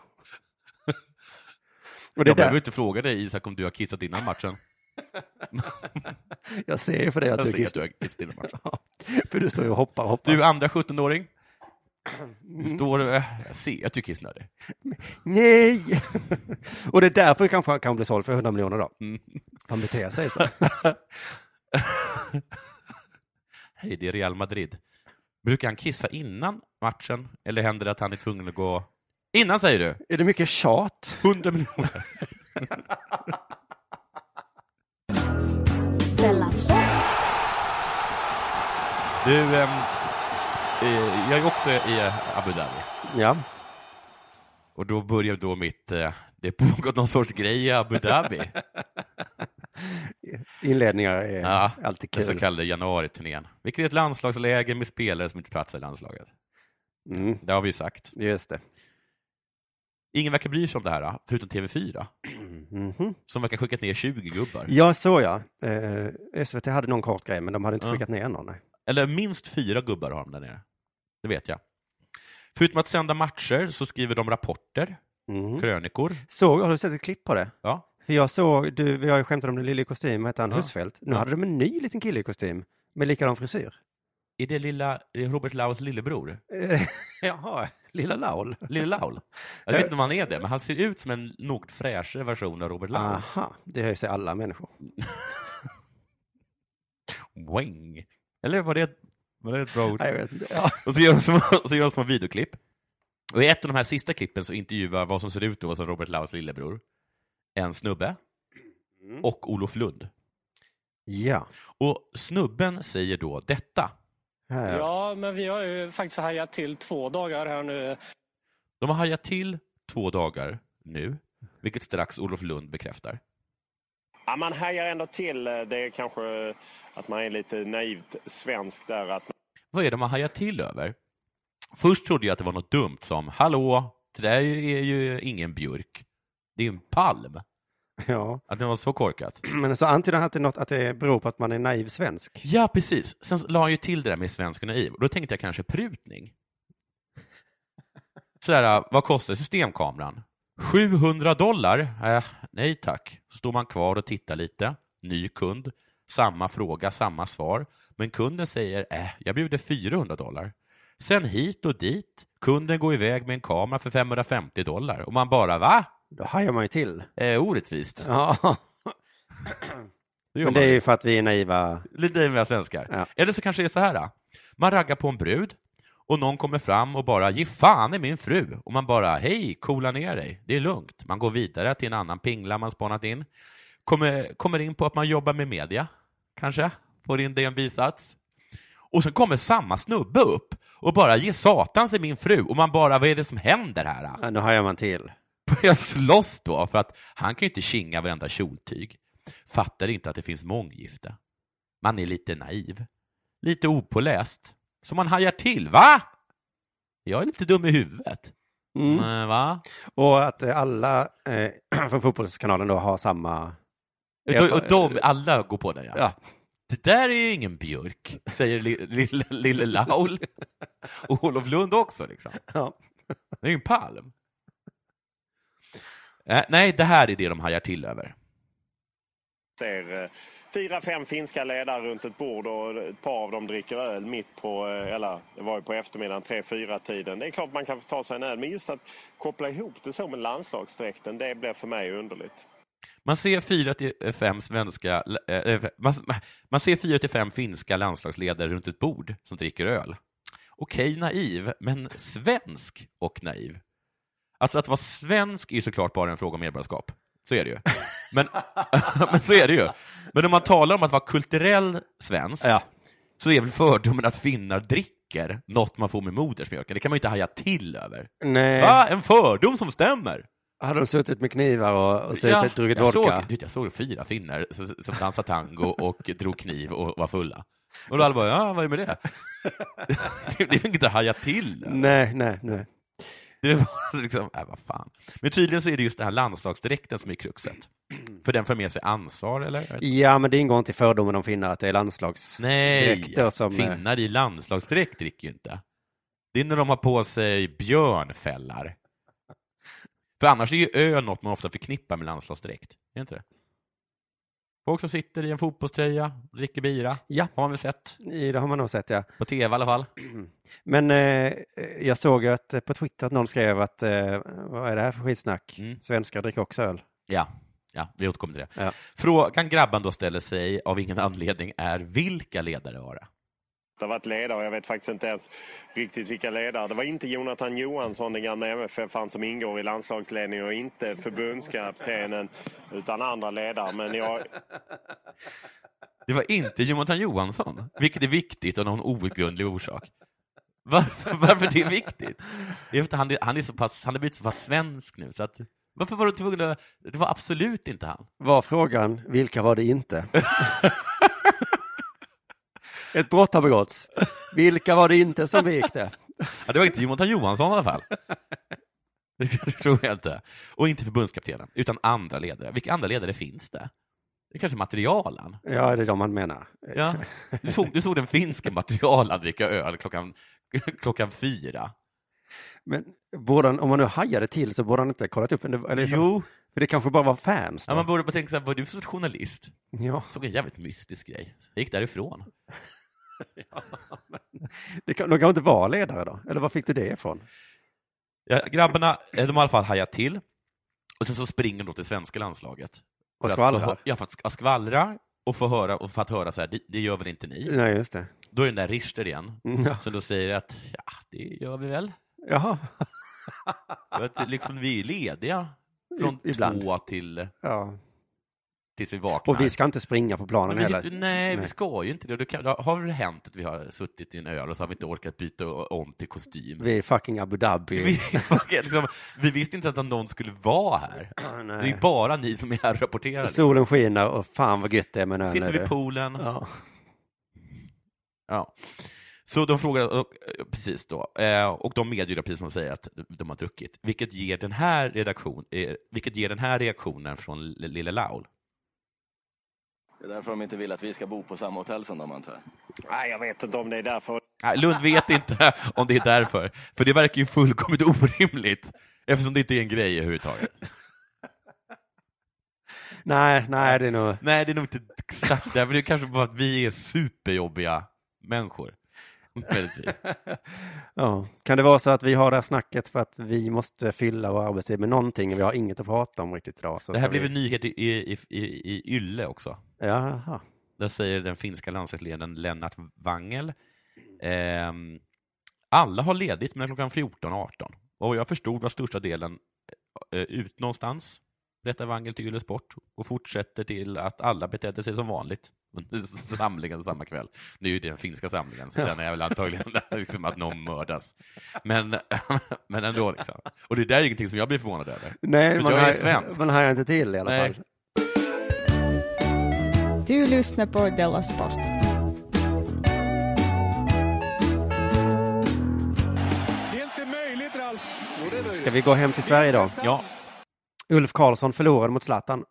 [SPEAKER 3] Och det
[SPEAKER 4] Jag
[SPEAKER 3] är
[SPEAKER 4] behöver
[SPEAKER 3] där,
[SPEAKER 4] inte fråga dig, Isak, om du har kissat innan matchen.
[SPEAKER 3] jag ser ju för dig att
[SPEAKER 4] Jag
[SPEAKER 3] du
[SPEAKER 4] ser att
[SPEAKER 3] kissar.
[SPEAKER 4] du har kissat innan matchen.
[SPEAKER 3] Ja, för du står ju och hoppar och hoppar.
[SPEAKER 4] Du andra 17-åring.
[SPEAKER 3] Mm.
[SPEAKER 4] Du står och... Jag ser att du är kissnödig.
[SPEAKER 3] Nej! och det är därför kanske han kan bli såld för 100 miljoner då.
[SPEAKER 4] Mm.
[SPEAKER 3] Han beter sig så.
[SPEAKER 4] Hej, det är Real Madrid. Brukar han kissa innan matchen, eller händer det att han är tvungen att gå... Innan, säger du?
[SPEAKER 3] är det mycket tjat?
[SPEAKER 4] 100 miljoner.
[SPEAKER 5] Della Sport,
[SPEAKER 4] Du, ehm, eh, jag är också i eh, Abu Dhabi.
[SPEAKER 3] Ja.
[SPEAKER 4] Och då börjar då mitt... Eh, det pågår någon sorts grej i Abu Dhabi.
[SPEAKER 3] Inledningar är
[SPEAKER 4] Ja,
[SPEAKER 3] alltid
[SPEAKER 4] Den så
[SPEAKER 3] kul.
[SPEAKER 4] kallade januariturnén. Vilket är ett landslagsläger med spelare som inte platsar i landslaget.
[SPEAKER 3] Mm,
[SPEAKER 4] Det har vi ju sagt.
[SPEAKER 3] just det.
[SPEAKER 4] Ingen verkar bry sig om det här, förutom TV4.
[SPEAKER 3] Mhm.
[SPEAKER 4] Som verkar ha skickat ner 20 gubbar.
[SPEAKER 3] Ja, så ja. Eh, SVT hade någon kort grej, men de hade inte
[SPEAKER 4] Ja.
[SPEAKER 3] skickat ner någon. Nej.
[SPEAKER 4] Eller minst fyra gubbar har de där nere. Det vet jag. Förutom att sända matcher så skriver de rapporter,
[SPEAKER 3] Mhm.
[SPEAKER 4] krönikor.
[SPEAKER 3] Såg, har du sett ett klipp på det?
[SPEAKER 4] Ja.
[SPEAKER 3] För Jag såg, du, vi har ju skämtat om den lille i kostym, vad hette han,
[SPEAKER 4] Ja.
[SPEAKER 3] Husfeldt. Nu
[SPEAKER 4] Ja.
[SPEAKER 3] hade de en ny liten kille i kostym med likadan frisyr.
[SPEAKER 4] Är det lilla är det Robert Lauls lillebror?
[SPEAKER 3] Eh, Jaha, lilla Laul.
[SPEAKER 4] Lille Laul? Jag vet inte om han är det, men han ser ut som en något fräschare version av Robert Laul.
[SPEAKER 3] Aha, det hör ju sig alla människor.
[SPEAKER 4] Wang. Eller var det, var det ett bra ord?
[SPEAKER 3] Nej, jag vet inte. Ja.
[SPEAKER 4] Och så gör de små, och så gör de små videoklipp. Och i ett av de här sista klippen så intervjuar vad som ser ut att vara som Robert Lauls lillebror en snubbe och Olof Lund.
[SPEAKER 3] ja.
[SPEAKER 4] Och snubben säger då detta.
[SPEAKER 3] Här.
[SPEAKER 6] Ja, men vi har ju faktiskt hajat till två dagar här nu.
[SPEAKER 4] De har hajat till två dagar nu, vilket strax Olof Lund bekräftar.
[SPEAKER 7] Ja, man hajar ändå till. eh, Det är kanske att man är lite naivt svensk där. Att
[SPEAKER 4] Vad är det man hajar till över? Först trodde jag att det var något dumt som ”Hallå, det där är ju ingen björk, det är en palm”.
[SPEAKER 3] ja.
[SPEAKER 4] Att det var så korkat.
[SPEAKER 3] Men så antyder han att det, är något, att det beror på att man är naiv svensk.
[SPEAKER 4] Ja, precis. Sen la han ju till det där med svensk och naiv. Och då tänkte jag kanske prutning. Sådär, vad kostar systemkameran? 700 dollar? Eh, nej tack. Så Står man kvar och tittar lite. Ny kund. Samma fråga, samma svar. Men kunden säger, eh, jag bjuder 400 dollar. Sen hit och dit. Kunden går iväg med en kamera för 550 dollar. Och man bara, va?
[SPEAKER 3] Då hajar man ju till.
[SPEAKER 4] Eh, orättvist.
[SPEAKER 3] Ja.
[SPEAKER 4] Det
[SPEAKER 3] Men
[SPEAKER 4] gör man
[SPEAKER 3] det är
[SPEAKER 4] ju.
[SPEAKER 3] ju för att vi är naiva.
[SPEAKER 4] Lite mer svenskar.
[SPEAKER 3] Ja.
[SPEAKER 4] Eller så kanske det är så här. då. Man raggar på en brud och någon kommer fram och bara ”Ge fan i min fru” och man bara ”Hej, coola ner dig, det är lugnt”. Man går vidare till en annan pingla man spanat in. Kommer, kommer in på att man jobbar med media, kanske. Får in det i en bisats. Och så kommer samma snubbe upp och bara ”Ge satans i min fru” och man bara ”Vad är det som händer här?” då?"
[SPEAKER 3] Ja, nu hajar man till.
[SPEAKER 4] börjar slåss då, för att han kan ju inte kinga varenda kjoltyg. Fattar inte att det finns månggifte. Man är lite naiv, lite opåläst, så man hajar till. Va? Jag är lite dum i huvudet.
[SPEAKER 3] Mm.
[SPEAKER 4] Men, va?
[SPEAKER 3] Och att eh, alla eh, från Fotbollskanalen då har samma...
[SPEAKER 4] Och, och de, alla går på det, ja.
[SPEAKER 3] Ja.
[SPEAKER 4] Det där är ju ingen björk, säger li- lille, lille Laul. Och Olof Lund också, liksom.
[SPEAKER 3] Ja.
[SPEAKER 4] Det är ju en palm. Eh, Nej, det här är det de hajar till över.
[SPEAKER 7] ser eh, fyra, fem finska ledare runt ett bord och ett par av dem dricker öl mitt på, eh, eller det var ju på eftermiddagen, tre, fyra tiden. Det är klart man kan få ta sig en öl, men just att koppla ihop det så med landslagsdräkten, det blev för mig underligt.
[SPEAKER 4] Man ser fyra till eh, fem svenska, eh, eh, man, man ser fyra till fem finska landslagsledare runt ett bord som dricker öl. Okej, naiv, men svensk och naiv. Alltså att vara svensk är ju såklart bara en fråga om medborgarskap. Så är det ju. Men, men så är det ju. Men om man talar om att vara kulturell svensk
[SPEAKER 3] Ja.
[SPEAKER 4] så är väl fördomen att finnar dricker något man får med modersmjölken. Det kan man ju inte haja till över.
[SPEAKER 3] Nej.
[SPEAKER 4] Va? En fördom som stämmer!
[SPEAKER 3] Hade de suttit med knivar och, och suttit, druckit
[SPEAKER 4] jag
[SPEAKER 3] vodka?
[SPEAKER 4] Såg, du vet, jag såg fyra finnar som, som dansade tango och drog kniv och var fulla. Och då alla bara, ja, vad är det med det? det det är väl inget att haja till?
[SPEAKER 3] Nej, nej, nej.
[SPEAKER 4] Det är bara liksom, äh, vad fan. Men tydligen så är det just den här landslagsdräkten som är kruxet. För den för med sig ansvar, eller?
[SPEAKER 3] Ja, men det ingår inte i fördomen om finnar att det är landslags...
[SPEAKER 4] Nej,
[SPEAKER 3] Dräkter som, eh,
[SPEAKER 4] finnar i landslagsdräkt dricker ju inte. Det är när de har på sig björnfällar. För annars är ju öl något man ofta förknippar med landslagsdräkt. Är det inte det? Folk som sitter i en fotbollströja och dricker bira.
[SPEAKER 3] Ja.
[SPEAKER 4] Har man väl sett?
[SPEAKER 3] I- Det har man nog sett, ja.
[SPEAKER 4] På tv i alla fall.
[SPEAKER 3] Men eh, jag såg ju att eh, på Twitter att någon skrev att eh, vad är det här för skitsnack?
[SPEAKER 4] Mm.
[SPEAKER 3] Svenskar dricker också öl.
[SPEAKER 4] Ja, ja vi återkommer till det.
[SPEAKER 3] Ja.
[SPEAKER 4] Frågan grabban då ställer sig av ingen anledning är vilka ledare var det?
[SPEAKER 7] Det har varit ledare och jag vet faktiskt inte ens riktigt vilka ledare. Det var inte Jonathan Johansson, den gamla MFF-fan som ingår i landslagsledningen och inte förbundskaptenen utan andra ledare. Men jag,
[SPEAKER 4] Det var inte Jonathan Johansson, vilket är viktigt av någon outgrundlig orsak. Varför, varför det är viktigt? Det är för att han, är- han, är så pass, han har blivit så pass svensk nu, så att varför var du tvungen att... Det var absolut inte han.
[SPEAKER 3] Var frågan, vilka var det inte? Ett brott har begåtts. Vilka var det inte som begick det?
[SPEAKER 4] Ja, det var inte Jonathan Johansson i alla fall. Det tror jag inte. Och inte förbundskaptenen, utan andra ledare. Vilka andra ledare finns det? Det är kanske materialen.
[SPEAKER 3] Ja, det är de man menar.
[SPEAKER 4] Ja. Du, såg, du såg den finska materialen dricka öl klockan, klockan fyra.
[SPEAKER 3] Men borde han, om man nu hajade till så borde han inte ha kollat upp. Eller liksom,
[SPEAKER 4] Jo.
[SPEAKER 3] För det kanske bara var fans. Då.
[SPEAKER 4] Ja, man borde bara tänka så här, vad är du för sorts journalist?
[SPEAKER 3] ja.
[SPEAKER 4] Såg en jävligt mystisk grej. Jag gick därifrån.
[SPEAKER 3] Det kan, de kan inte vara ledare då? Eller var fick du det ifrån?
[SPEAKER 4] Ja, grabbarna, eh, de har i alla fall hajat till. Och sen så springer de till svenska landslaget.
[SPEAKER 3] Och
[SPEAKER 4] För att få
[SPEAKER 3] skvallrar.
[SPEAKER 4] hö- Ja, för att sk- ja, skvallrar och få höra, och för att höra så här, det, det gör väl inte ni?
[SPEAKER 3] Nej, just det.
[SPEAKER 4] Då är den där Richter igen,
[SPEAKER 3] Ja.
[SPEAKER 4] som då säger att ja, det gör vi väl.
[SPEAKER 3] Jaha.
[SPEAKER 4] För att liksom, vi är lediga från
[SPEAKER 3] I- ibland.
[SPEAKER 4] två till
[SPEAKER 3] Ja.
[SPEAKER 4] tills vi vaknar.
[SPEAKER 3] Och vi ska inte springa på planen
[SPEAKER 4] Men vi-
[SPEAKER 3] heller.
[SPEAKER 4] nej, vi
[SPEAKER 3] Nej.
[SPEAKER 4] ska ju inte det. Då, kan, då har det hänt att vi har suttit i en öl och så har vi inte orkat byta om till kostym.
[SPEAKER 3] Vi är fucking Abu Dhabi.
[SPEAKER 4] Vi, liksom, vi visste inte ens att någon skulle vara här.
[SPEAKER 3] Ja, nej.
[SPEAKER 4] Det är bara ni som är här och rapporterar. Liksom.
[SPEAKER 3] Solen skiner och fan vad gött det är med en öl
[SPEAKER 4] Sitter
[SPEAKER 3] nu,
[SPEAKER 4] vid
[SPEAKER 3] du.
[SPEAKER 4] poolen.
[SPEAKER 3] Ja.
[SPEAKER 4] Ja. Så de frågar, och, eh, precis då, eh, och de medger det, precis som de säger att de har druckit, vilket ger den här, redaktion, eh, vilket ger den här reaktionen från L- Lille Laul.
[SPEAKER 8] Det är därför de inte vill att vi ska bo på samma hotell som de antar jag.
[SPEAKER 7] Nej, jag vet inte om det är därför.
[SPEAKER 4] Nej, Lund vet inte om det är därför, för det verkar ju fullkomligt orimligt, eftersom det inte är en grej överhuvudtaget.
[SPEAKER 3] Nej, nej, det är nog...
[SPEAKER 4] Nej, det är nog inte exakt det, men det är kanske bara att vi är superjobbiga människor. Möjligtvis.
[SPEAKER 3] Ja. Kan det vara så att vi har det här snacket för att vi måste fylla vår arbetstid med någonting och vi har inget att prata om riktigt idag? Så
[SPEAKER 4] Det här
[SPEAKER 3] ska vi-
[SPEAKER 4] blev en nyhet i, i, i, i Ylle också.
[SPEAKER 3] Jaha.
[SPEAKER 4] Där säger den finska landslagsledaren Lennart Wangel. ehm, alla har ledigt mellan klockan 14.18. Och jag förstod var största delen eh, ut någonstans, berättar Wangel till Yle Sport och fortsätter till att alla betedde sig som vanligt under samlingen samma kväll. Nu är ju det den finska samlingen, så den är väl antagligen liksom att någon mördas. Men, men ändå. Liksom. Och det där är ingenting som jag blir förvånad över.
[SPEAKER 3] Nej,
[SPEAKER 4] För
[SPEAKER 3] man
[SPEAKER 4] jag är
[SPEAKER 3] har-
[SPEAKER 4] svensk.
[SPEAKER 3] Man hajar inte till i alla
[SPEAKER 4] Nej.
[SPEAKER 3] fall.
[SPEAKER 9] Du lyssnar på Della Sport.
[SPEAKER 3] Ska vi gå hem till Sverige då?
[SPEAKER 4] Ja,
[SPEAKER 3] Ulf Karlsson förlorade mot Zlatan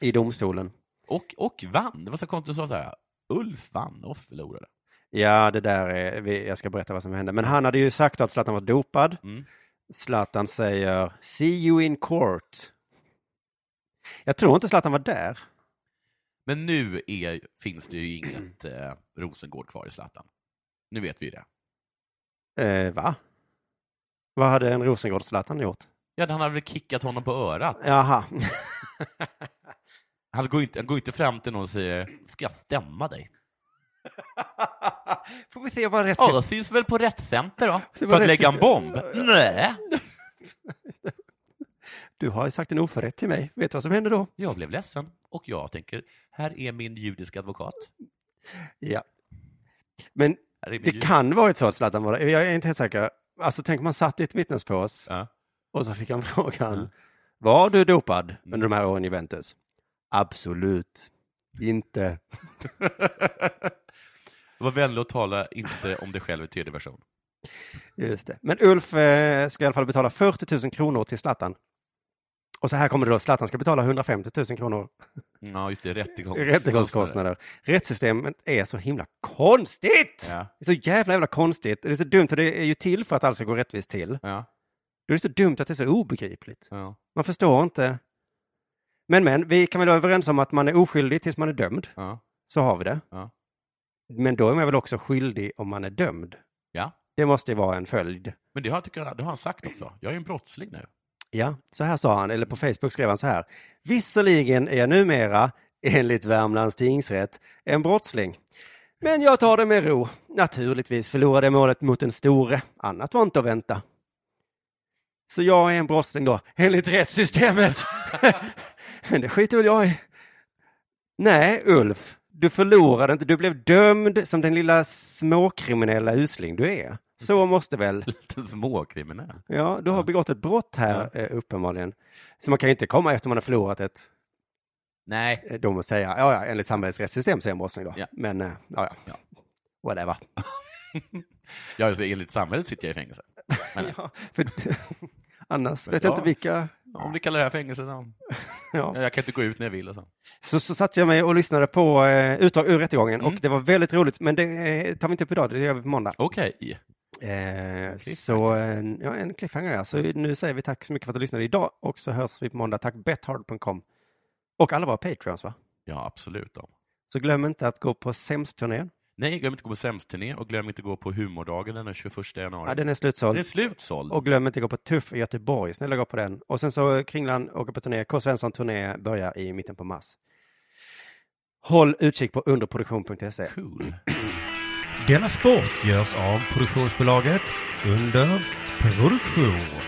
[SPEAKER 3] i domstolen.
[SPEAKER 4] och, och vann. Det var så konstigt att du sa så här, Ulf vann och förlorade.
[SPEAKER 3] Ja, det där är, vi- jag ska berätta vad som hände. Men han hade ju sagt att Zlatan var dopad.
[SPEAKER 4] Mm.
[SPEAKER 3] Zlatan säger “See you in court”. Jag tror inte Zlatan var där.
[SPEAKER 4] Men nu är, finns det ju inget eh, Rosengård kvar i Zlatan. Nu vet vi ju det.
[SPEAKER 3] Eh, va? Vad hade en Rosengård-Zlatan gjort?
[SPEAKER 4] Ja, han har väl kickat honom på örat.
[SPEAKER 3] Jaha.
[SPEAKER 4] Han går ju inte, han går ju inte fram till någon och säger ”ska jag stämma dig?”
[SPEAKER 3] Får vi se vad rätt
[SPEAKER 4] Ja, då syns väl på Rett Center då,
[SPEAKER 3] Det
[SPEAKER 4] för
[SPEAKER 3] var
[SPEAKER 4] att
[SPEAKER 3] rätt-
[SPEAKER 4] lägga en bomb. Nej,
[SPEAKER 3] Du har ju sagt en oförrätt till mig. Vet du vad som händer då?
[SPEAKER 4] jag blev ledsen och jag tänker, här är min judiska advokat.
[SPEAKER 3] Ja. Men
[SPEAKER 4] Här är min
[SPEAKER 3] det
[SPEAKER 4] jud-
[SPEAKER 3] kan varit så att Zlatan var där. Jag är inte helt säker. Alltså tänk om man satt i ett vittnespås
[SPEAKER 4] Ja.
[SPEAKER 3] och så fick han frågan. Var du dopad
[SPEAKER 4] Mm.
[SPEAKER 3] under de här åren i Juventus? Absolut inte.
[SPEAKER 4] Var vänlig och tala inte om dig själv i tredje person.
[SPEAKER 3] Just det. Men Ulf eh, ska i alla fall betala 40 000 kronor till Zlatan. Och så här kommer det då. Zlatan ska betala 150 000 kronor
[SPEAKER 4] Ja, just det,
[SPEAKER 3] i
[SPEAKER 4] rättegångskostnader.
[SPEAKER 3] rättegångskostnader. Rättssystemet är så himla konstigt!
[SPEAKER 4] Ja.
[SPEAKER 3] Det är så jävla, jävla konstigt. Det är så dumt, för det är ju till för att allt ska gå rättvist till.
[SPEAKER 4] Ja,
[SPEAKER 3] Då är det så dumt att det är så obegripligt.
[SPEAKER 4] ja.
[SPEAKER 3] Man förstår inte. Men, men, vi kan väl vara överens om att man är oskyldig tills man är dömd.
[SPEAKER 4] ja.
[SPEAKER 3] Så har vi det.
[SPEAKER 4] Ja.
[SPEAKER 3] Men då är man väl också skyldig om man är dömd.
[SPEAKER 4] Ja.
[SPEAKER 3] Det måste ju vara en följd.
[SPEAKER 4] Men det har, tycker jag, det har han sagt också. Jag är ju en brottsling nu.
[SPEAKER 3] Ja, så här sa han, eller på Facebook skrev han så här. Visserligen är jag numera, enligt Värmlands tingsrätt, en brottsling. Men jag tar det med ro. Naturligtvis förlorade jag målet mot den store. Annat var inte att vänta. Så jag är en brottsling då, enligt rättssystemet. Men det skiter väl jag i. Nej, Ulf, du förlorade inte. Du blev dömd som den lilla småkriminella usling du är. Så måste väl
[SPEAKER 4] Liten småkriminell.
[SPEAKER 3] Ja, du har begått ett brott här eh, uppenbarligen. Så man kan ju inte komma efter man har förlorat ett
[SPEAKER 4] Nej,
[SPEAKER 3] eh, dom och säga, ja, ja, enligt samhällets rättssystem så är jag en brottsling då.
[SPEAKER 4] Ja.
[SPEAKER 3] Men, eh, ja, ja. Whatever.
[SPEAKER 4] Ja, alltså, enligt samhället sitter jag i fängelse.
[SPEAKER 3] Ja, för, Annars vet jag Eh.
[SPEAKER 4] Ja.
[SPEAKER 3] inte vilka.
[SPEAKER 4] Om ni kallar det här fängelse, så.
[SPEAKER 3] Ja.
[SPEAKER 4] Jag kan inte gå ut när jag vill. Och så.
[SPEAKER 3] Så, så satt jag mig och lyssnade på eh, utdrag ur rättegången
[SPEAKER 4] Mm.
[SPEAKER 3] och det var väldigt roligt. Men det eh, tar vi inte upp idag, det gör vi på måndag.
[SPEAKER 4] Okej.
[SPEAKER 3] Eh, så eh, ja, en cliffhanger där. Så nu säger vi tack så mycket för att du lyssnade idag och så hörs vi på måndag. Tack bethard.com och alla våra patreons va?
[SPEAKER 4] Ja, absolut. Då.
[SPEAKER 3] Så glöm inte att gå på SEMS-turnén.
[SPEAKER 4] Nej, glöm inte att gå på Sämst-turné och glöm inte att gå på Humordagen den 21 januari.
[SPEAKER 3] Ja, den är
[SPEAKER 4] Den är
[SPEAKER 3] slutsåld.
[SPEAKER 4] slutsåld.
[SPEAKER 3] Och glöm inte att gå på Tuff i Göteborg. Snälla gå på den. Och sen så Kringlan åker på turné. K. Svensson turné börjar i mitten på mars. Håll utkik på underproduktion.se.
[SPEAKER 4] Cool.
[SPEAKER 1] Denna sport görs av produktionsbolaget under produktion.